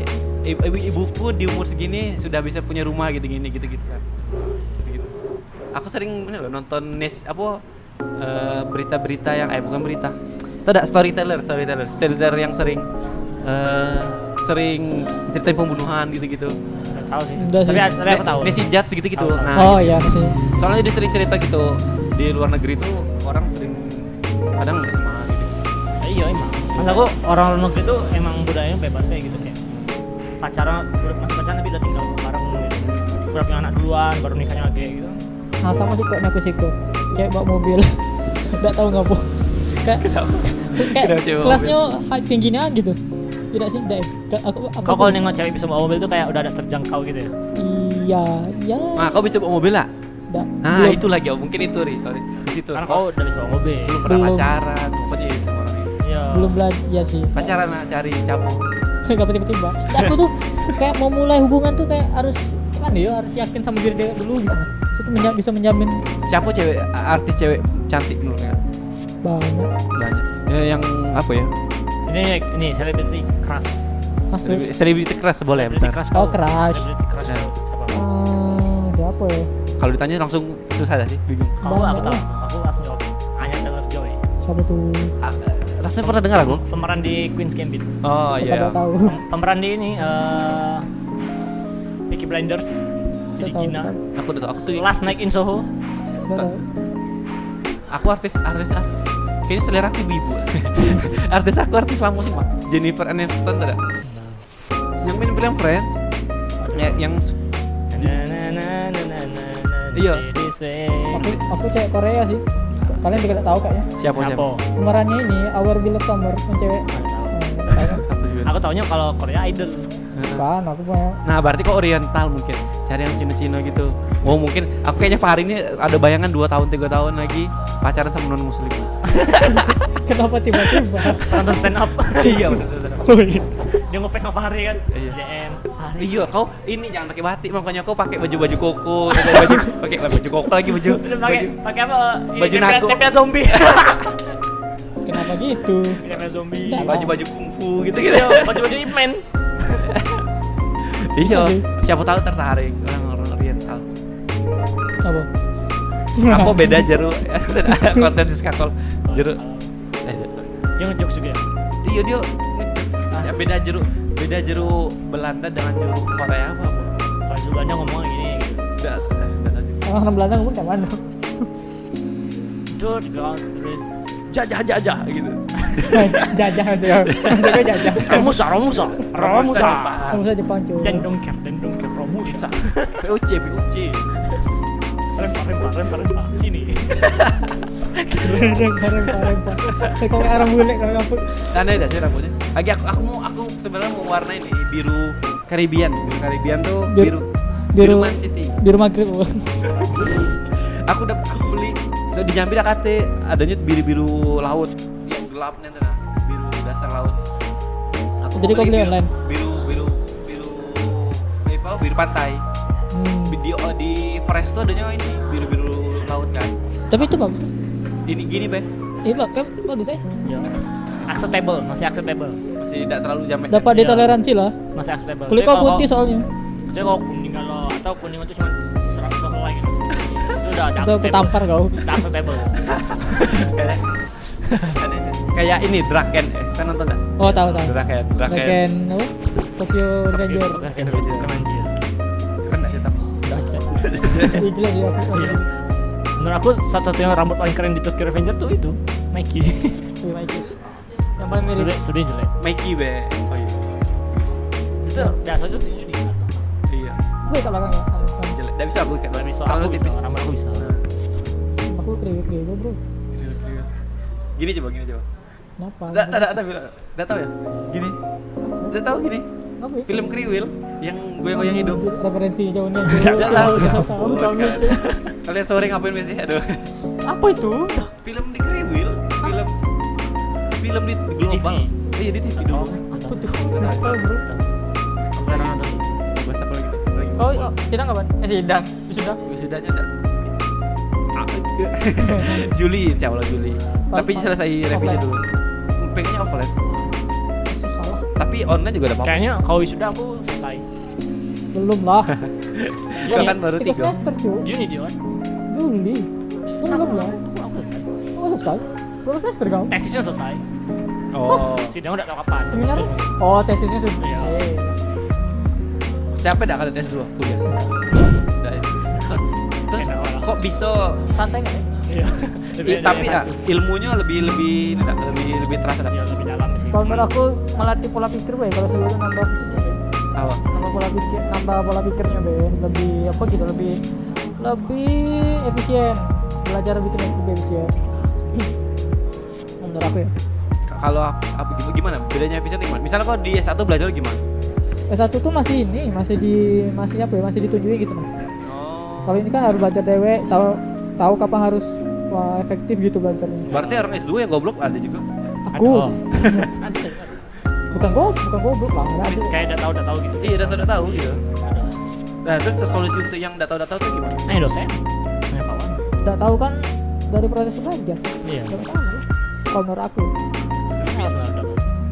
A: i- ibu ibuku di umur segini sudah bisa punya rumah gitu gini gitu gitu kan gitu. aku sering bener loh nonton nes apa eh, berita-berita yang eh bukan berita tidak storyteller storyteller storyteller yang sering eh sering ceritain pembunuhan gitu-gitu.
B: Nggak tahu sih
C: Udah sih.
B: tapi tapi aku tahu
A: Nesi Judge gitu-gitu.
B: Tahu, tahu.
A: Nah,
C: oh
A: gitu
C: iya maksudnya
A: soalnya dia sering cerita gitu di luar negeri tuh orang sering kadang nggak sama gitu
B: Ya, iya emang masa aku orang luar negeri tuh emang budayanya bebas kayak gitu kayak pacaran udah- masih pacaran tapi udah tinggal sekarang gitu udah punya anak duluan baru nikahnya lagi gitu
C: nah sama sih kok aku sih kok kayak bawa mobil tidak tahu ngapa kayak terus kayak
A: Kenapa cewek
C: kelasnya high tingginya gitu tidak sih tidak ya? aku aku
B: kau kalau nengok cewek bisa bawa mobil tuh kayak udah ada terjangkau gitu ya
C: iya iya
A: nah kau bisa bawa mobil lah
C: tidak
A: nah
C: belum.
A: itu lagi oh, mungkin itu ri kalau di- di situ
B: karena
A: kau
B: kau udah bisa bawa mobil
A: belum pernah
C: belum.
A: pacaran pokoknya itu sama orang ini. nah,
B: iya
C: belum belajar ya sih
A: pacaran lah cari cabut
C: nggak tiba-tiba aku tuh kayak mau mulai hubungan tuh kayak harus gimana ya harus yakin sama diri dia dulu gitu Terus itu menya- bisa menjamin
A: Siapa cewek artis cewek cantik menurut kalian?
C: banyak
A: Banyak. Ya, yang apa ya?
B: ini ini selebriti keras
C: mas
A: Selebriti- Selebriti keras boleh.
B: selebriti
A: bentar.
B: keras
C: Oh,
B: kau.
C: keras.
B: selebriti keras
A: Ya.
B: kau. Siapa?
C: eh, siapa ya
A: Kalau ditanya langsung susah dah sih, bingung.
B: kalau
C: Bang,
B: aku tahu
C: Bang.
B: langsung. aku langsung jawab Anya Taylor Joy
C: siapa tuh
A: Ah, rasanya pernah dengar aku?
B: pemeran di Queen's Gambit
A: Oh
C: kita
A: iya.
C: nggak tahu
B: Pem- pemeran di ini eh Peaky Blinders jadi
C: tahu, kan.
B: Gina
A: Aku udah tahu. Aku tuh
B: Last Night in Soho
C: Nggak tahu.
A: aku artis artis artis. Kayaknya selera aku ibu. artis aku artis lama semua. Jennifer Aniston ada. Yang main film Friends. Ya, yang su- Iya.
C: aku aku cewek Korea sih kalian juga nggak tahu kayaknya
A: siapa siapa?
B: Siapa?
C: pemerannya ini Our Beloved Summer yang cewek
A: Aku juga.
B: Aku taunya kalau Korea Idol
C: kan aku mau
A: Nah, berarti kok oriental mungkin. Cari yang Cina-Cina gitu. Oh, mungkin aku kayaknya Fahri ini ada bayangan 2 tahun 3 tahun lagi pacaran sama non muslim.
C: kenapa tiba-tiba
B: Penonton stand up
A: iya, bener, bener.
B: Dia nge-face sama Fahri kan
A: Iya.
B: DM Fahri
A: Iya, kau ini jangan pakai batik makanya kau pakai baju-baju koko, pakai baju pakai baju koko lagi baju.
B: Belum pakai
A: baju-
B: pakai apa? Ini
A: Baju
B: tempelan-
A: nago.
B: Tempelan zombie
C: kenapa gitu
B: Tempelan zombie
C: Nggak,
A: baju-baju kungfu gitu gitu.
B: Iya, Baju-baju Ip Man
A: Iya,
C: Bisa sih.
A: siapa tahu tertarik orang-orang oriental.
C: apa
A: Aku beda jeru konten di skakol jeru. Eh,
B: Dia ngejokes juga
A: Iya dia ya, beda jeru beda jeru Belanda dengan jeru Korea apa apa.
B: Kalau sebelumnya ngomong gini gitu
A: Nggak- eh, nggak tahu juga.
C: orang Belanda ngomong kayak mana
B: Jor, ground, terus
A: Jajah jajah gitu.
C: jajah aja maksudnya jajah
B: Romusa, Romusa Romusa
C: kamu saja Jepang cuy
B: Dan dongker, dan dongker Romusa
A: POC POC.
B: Lempar, lempar, lempar, lempar Sini
C: rempah rempah rempah Eh, kalau orang bule kalau kampung
A: Sana ada sih rambutnya. Lagi aku aku mau aku sebenarnya mau warna ini biru Karibian. Biru Karibian tuh biru biru
C: Biru- biru-
A: Man City.
C: di rumah grip
A: Aku udah aku beli so, di Jambi dah kate adanya biru-biru laut yang gelapnya tuh nah, biru dasar laut. Aku mau
C: Jadi kau beli
A: biru-
C: online?
A: Biru biru biru eh, apa biru pantai. Di di, di Forest tuh adanya ini biru-biru laut kan.
C: tapi itu bagus
A: Ini gini, Be.
C: iya bang kan bagus eh
B: Ya. Acceptable, masih acceptable.
A: Masih tidak terlalu jamet.
C: dapat
B: Iya.
C: ditoleransi lah
B: Masih acceptable.
C: kulit
B: Tapi
C: kau
B: kalau
C: putih soalnya
B: Kecuali kalau kuning kalau atau kuning itu cuma serak sehelai gitu. Itu udah udah
C: itu aku tampar kau
B: Udah acceptable.
A: Kayak- Kayak ini Draken, eh, kan nonton enggak?
C: oh tahu tahu
A: Draken, Draken.
C: Dragon apa Tokyo Revenger
B: Keren banjir. Keren banjir.
A: Keren enggak tapi?
C: Iya, jelas ya aku
B: Iya. Menurut aku satu-satunya rambut paling keren di Tokyo Revenger tuh itu Mikey.
C: Wih, Mikes. yang paling mirip
B: Sebenarnya sebenarnya jelek.
A: Mikey, Be. Oh iya.
B: Itu biasa itu
A: Iya.
C: gue ke belakang ya
A: Jelek. Enggak bisa aku kayak
B: Gak bisa,
A: Terlalu
B: aku bisa,
A: tipis.
B: rambut aku bisa
C: aku kriwil kriwil bro
A: Gini coba, gini coba.
C: kenapa
A: Enggak tahu, enggak tahu, enggak tahu ya. Gini. Enggak tahu gini.
C: Apa ya?
A: Film Kriwil yang goyang-goyang hidup.
C: referensi jauhnya
A: Enggak tahu.
C: Nggak tahu jauhnya cuy.
A: Kalian sore ngapain biasanya? Aduh.
C: apa itu
A: Film di Kriwil, film film di global. Iya, di TV dulu.
C: apa tuh nggak tahu bro
B: Bukan orang nonton TV.
A: Bahasa apa lagi? Bahasa lagi.
C: kau oh, sidang kapan eh sidang sudah
A: wisudanya ada Juli insya Allah Juli tapi
C: Offline.
A: selesai revisi
C: Offline.
A: dulu pengennya offline
C: susah lah
A: tapi online juga ada apa
B: Kayaknya kalau sudah aku selesai
C: belum lah
A: juga kan baru
C: tiga
A: tiga
C: semester cuy
B: Juni dia kan?
C: Juli belum lah
B: Aku, aku selesai
C: oh selesai belum semester kau
B: Tesisnya selesai
A: oh
B: Sidang udah tau kapan
C: seminar
B: Terus-
C: oh tesisnya sudah
B: Iya.
C: Eh,
A: capek dah kalian tes dulu kuliah Udah ya. terus terus
B: Enak orang.
A: kok bisa
C: santai nggak ya
B: Iya.
A: i- tapi ah, ilmunya lebih lebih ini dah, lebih Iya, lebih terasa dah.
B: ya lebih dalam sih.
C: kalau menurut aku melatih pola pikir weh kalau sebelumnya nambah pikirnya weh.
A: Apa?
C: nambah pola pikir nambah pola pikirnya Ben lebih apa gitu lebih lebih efisien belajar lebih tenang, lebih efisien menurut aku ya
A: kalau aku- apa gim- gimana bedanya efisien gimana misalnya kok di S1 belajar gimana
C: S1 tuh masih ini masih di masih apa ya masih ditunjukin gitu nah
A: oh
C: kalau ini kan harus belajar dewe tahu tahu kapan harus wah,
B: Iya.
C: efektif gitu belajarnya
B: oh.
A: berarti orang S2 yang goblok ada juga
C: aku
B: Ada.
C: bukan gua bukan gua belum lah nggak ada.
B: Kayak udah tahu udah tahu gitu.
A: Iya, udah tahu udah tahu gitu. Nah, terus solusi untuk yang udah tahu udah tahu itu gimana?
B: Nanya Nah, dosen, nanya kawan.
C: nggak tahu kan dari proses belajar
B: Iya.
C: nggak masalah kalau menurut aku
B: Iya sebenarnya udah.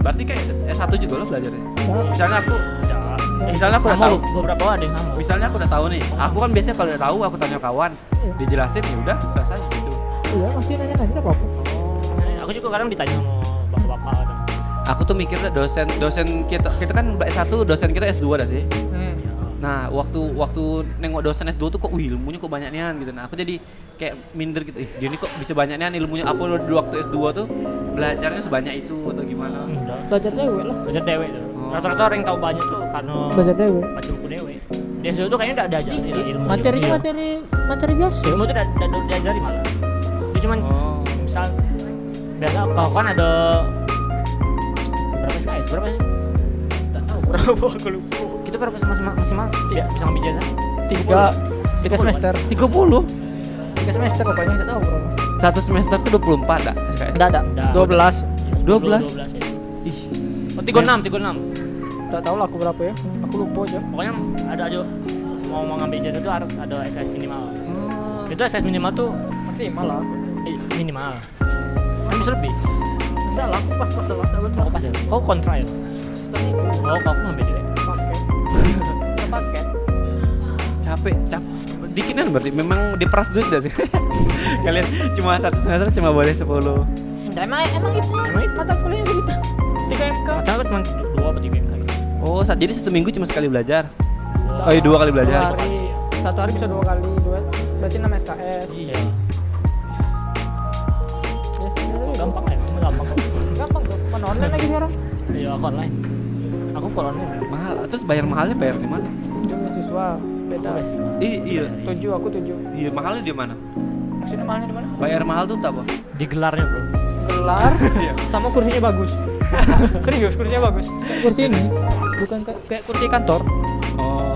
A: Berarti kayak S1 juga lo belajarnya.
C: Nggak.
A: Misalnya aku
B: Udah.
A: misalnya aku udah
B: Eh, Sama
A: tahu,
B: beberapa ada yang sama.
A: misalnya aku udah tahu nih. Aku kan biasanya kalau udah tahu aku tanya kawan,
C: Iya.
A: dijelasin ya udah selesai gitu.
C: iya pasti nanya nanya apa apa
B: Misalnya Nah, Aku juga kadang ditanya sama bapak-bapak ada.
A: Aku tuh mikirnya dosen dosen kita kita kan S1, dosen kita S2 dah sih.
B: Iya.
A: Nah, waktu waktu nengok dosen S2 tuh kok wih, ilmunya kok banyak nian gitu. Nah, aku jadi kayak minder gitu. Ih, dia ini kok bisa banyak nian ilmunya apa lo di waktu S2 tuh belajarnya sebanyak itu atau gimana?
B: Udah.
C: belajar dewe lah
B: Belajar dewe
A: Oh.
B: tuh. Rata-rata orang yang tahu banyak tuh karena
C: belajar dewe
B: baca buku dewe. Dia dulu tuh kayaknya udah diajarin ilmu.
C: materinya
B: Iya, Iya.
C: materi materi biasa
B: Ilmu tuh udah udah udah diajarin malah. Dia cuman
A: Oh.
B: misal biasa kalau kan ada berapa SKS berapa sih? Gak tahu berapa aku lupa. Kita berapa maksimal maksimal? Tidak bisa ngambil jasa.
C: tiga tiga semester
A: 30.
C: tiga semester pokoknya nggak tahu bro
A: Satu semester tuh 24 dah. SKS.
C: nggak ada
B: Nggak.
C: dua belas Iya.
A: Dua belas.
B: 12 ya.
A: Ih,
B: Oh, 36, 36.
C: nggak tahu lah aku berapa ya aku lupa aja
B: pokoknya ada aja mau mau ngambil ijazah tuh harus ada SS minimal
A: Oh,
B: itu SS minimal tuh
C: maksimal lah
B: eh, minimal kan bisa lebih
C: enggak lah aku pas pas lah
B: kau pas ya kau kontra ya oh kau aku ngambil deh
C: pakai pakai
A: capek, capek. Dikit kan berarti memang diperas duit dah sih. Kalian cuma satu semester cuma boleh 10.
C: emang emang itu mata kuliah gitu tiga mk
B: macam aku cuma dua atau tiga gitu. kali
A: Oh, sa- jadi satu minggu cuma sekali belajar. Oh, iya, dua kali belajar.
C: hari satu hari bisa dua kali dua berarti enam SKS
B: iya
C: biasanya
B: Oh,
C: tuh
B: gampang lah emang gampang kok
C: gampang kok mana online lagi sekarang
B: iya aku online aku follow anu. online
A: Mahal. Terus bayar mahalnya bayar di mana?
C: dia mahasiswa beda
B: Aku masih-
A: Ih, iya.
C: tujuh aku tujuh
A: Iya, mahalnya di mana?
C: maksudnya mahalnya di mana
A: Bayar mahal tuh tak apa?
B: di gelarnya bro
C: gelar Iya. sama kursinya bagus serius kursinya bagus kursi ini bukan kayak, kayak kursi kantor
A: Oh,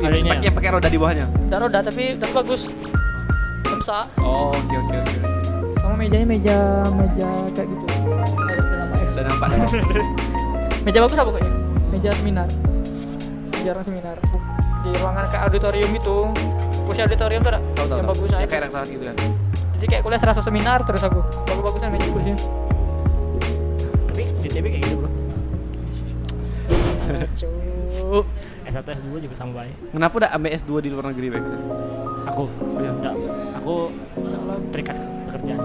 B: Adanya.
A: spek yang pakai roda di bawahnya.
C: dan roda tapi tapi bagus bisa
A: Oh, oke oke oke.
C: sama mejanya meja meja kayak gitu Ada nama ya? F.
A: Udah nampak.
C: meja bagus apa pokoknya meja seminar meja ruang seminar Bu- di ruangan kayak auditorium itu kursi auditorium tuh ada
A: Tahu tahu.
C: yang
A: tahu.
C: bagus
A: Ya,
C: aja
A: kayak rektorat gitu kan.
C: jadi kayak kuliah serasa seminar terus aku bagus bagusnya meja kursinya
B: tapi di TB kayak gitu bro
C: Cuk.
B: S1 S2 juga sama baik
A: Kenapa udah ambil S2 di luar negeri baik?
B: aku ya,
A: iya.
B: enggak aku terikat ke pekerjaan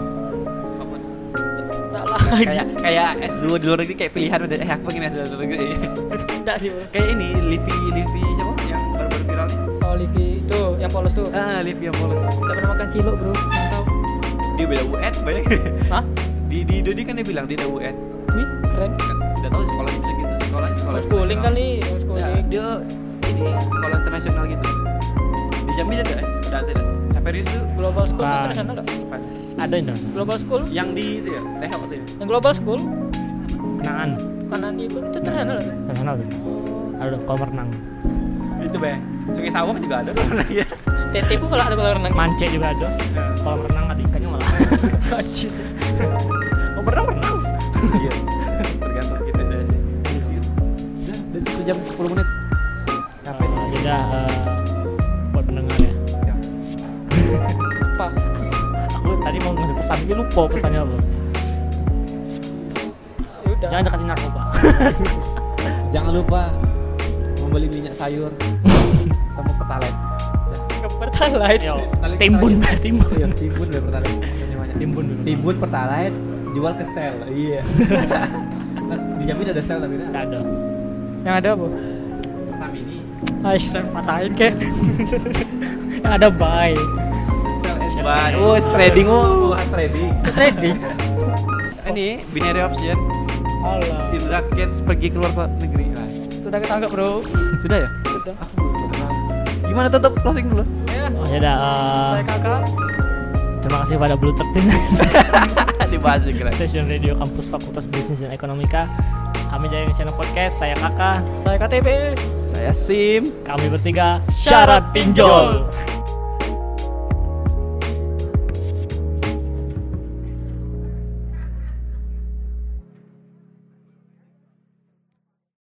C: enggak lagi
A: Kayak kayak S2 di luar negeri kayak pilihan udah eh aku pengen S2 di luar negeri.
C: enggak sih bro
A: kayak ini Livi Livi siapa yang baru-baru viral nih?
C: oh Livi itu yang polos tuh
A: Ah, Livi yang polos.
C: Gak pernah makan cilok bro Mantap
A: Dia beda UN banyak.
C: Hah?
A: di di Dodi kan dia bilang dia udah UN.
C: Wih keren
A: Kan udah tahu sekolahnya bisa gitu. Sekolah sekolah.
C: Homeschooling
A: internasional.
C: kali
A: Nah,
C: Homeschooling
A: dia ini sekolah internasional gitu. Di Jambi ada ya? Sudah ada. Saperius tuh
C: Global school
B: Bukan.
C: kan sana gak?
A: bukan.
B: ada yang dalam.
C: Global school
A: Yang di itu ya, teh apa tuh ya?
C: Yang global school
B: kenangan
C: Kanan itu Itu tersana lah
B: terkenal tuh ada kolam renang
A: Itu be. Sungai Sawang juga ada kan ya.
C: TT pun kalau ada kolam renang
B: mance juga ada
A: Iya.
B: kolam renang ada ikannya malah oh berenang berenang
A: Iya. Tergantung kita aja sih. Iya sih. Udah, udah satu jam 10 menit. Ah,
B: capek uh,
A: iya.
B: ya udah eh, buat pendengar ya
C: Apa?
B: aku tadi mau ngasih pesan tapi lupa pesannya apa
C: Ya udah
B: jangan dekatin narkoba
A: Jangan lupa membeli minyak sayur sama pertalite.
C: Gak pertalite
B: Yo, timbun timbun
A: Iya, timbun deh pertalite. Banyak-banyak.
B: timbun dulu
A: Timbun pertalite jual ke sel. Iya. Dijamin ada sel tapi kan.
B: Nggak ada
C: Yang ada apa?
A: Pertamini.
C: Ais patahin kek Yang ada buy
A: Bye. Oh, trading oh, trading.
C: Trading
A: Ini binary option.
C: Allah
A: Indra Kents pergi keluar ke negeri. Nah,
C: Sudah ketangkap bro
A: sudah ya?
C: Sudah
A: Aku belum kenal. Gimana tutup closing dulu?
C: Ya
B: oh ya udah eh,
C: Saya kakak
B: terima kasih pada Blue 13
A: Dibahas juga.
B: Station Radio Kampus Fakultas Bisnis dan Ekonomika kami dari Channel Podcast saya kakak
C: Saya KTP
A: Saya Sim.
B: kami bertiga syarat pinjol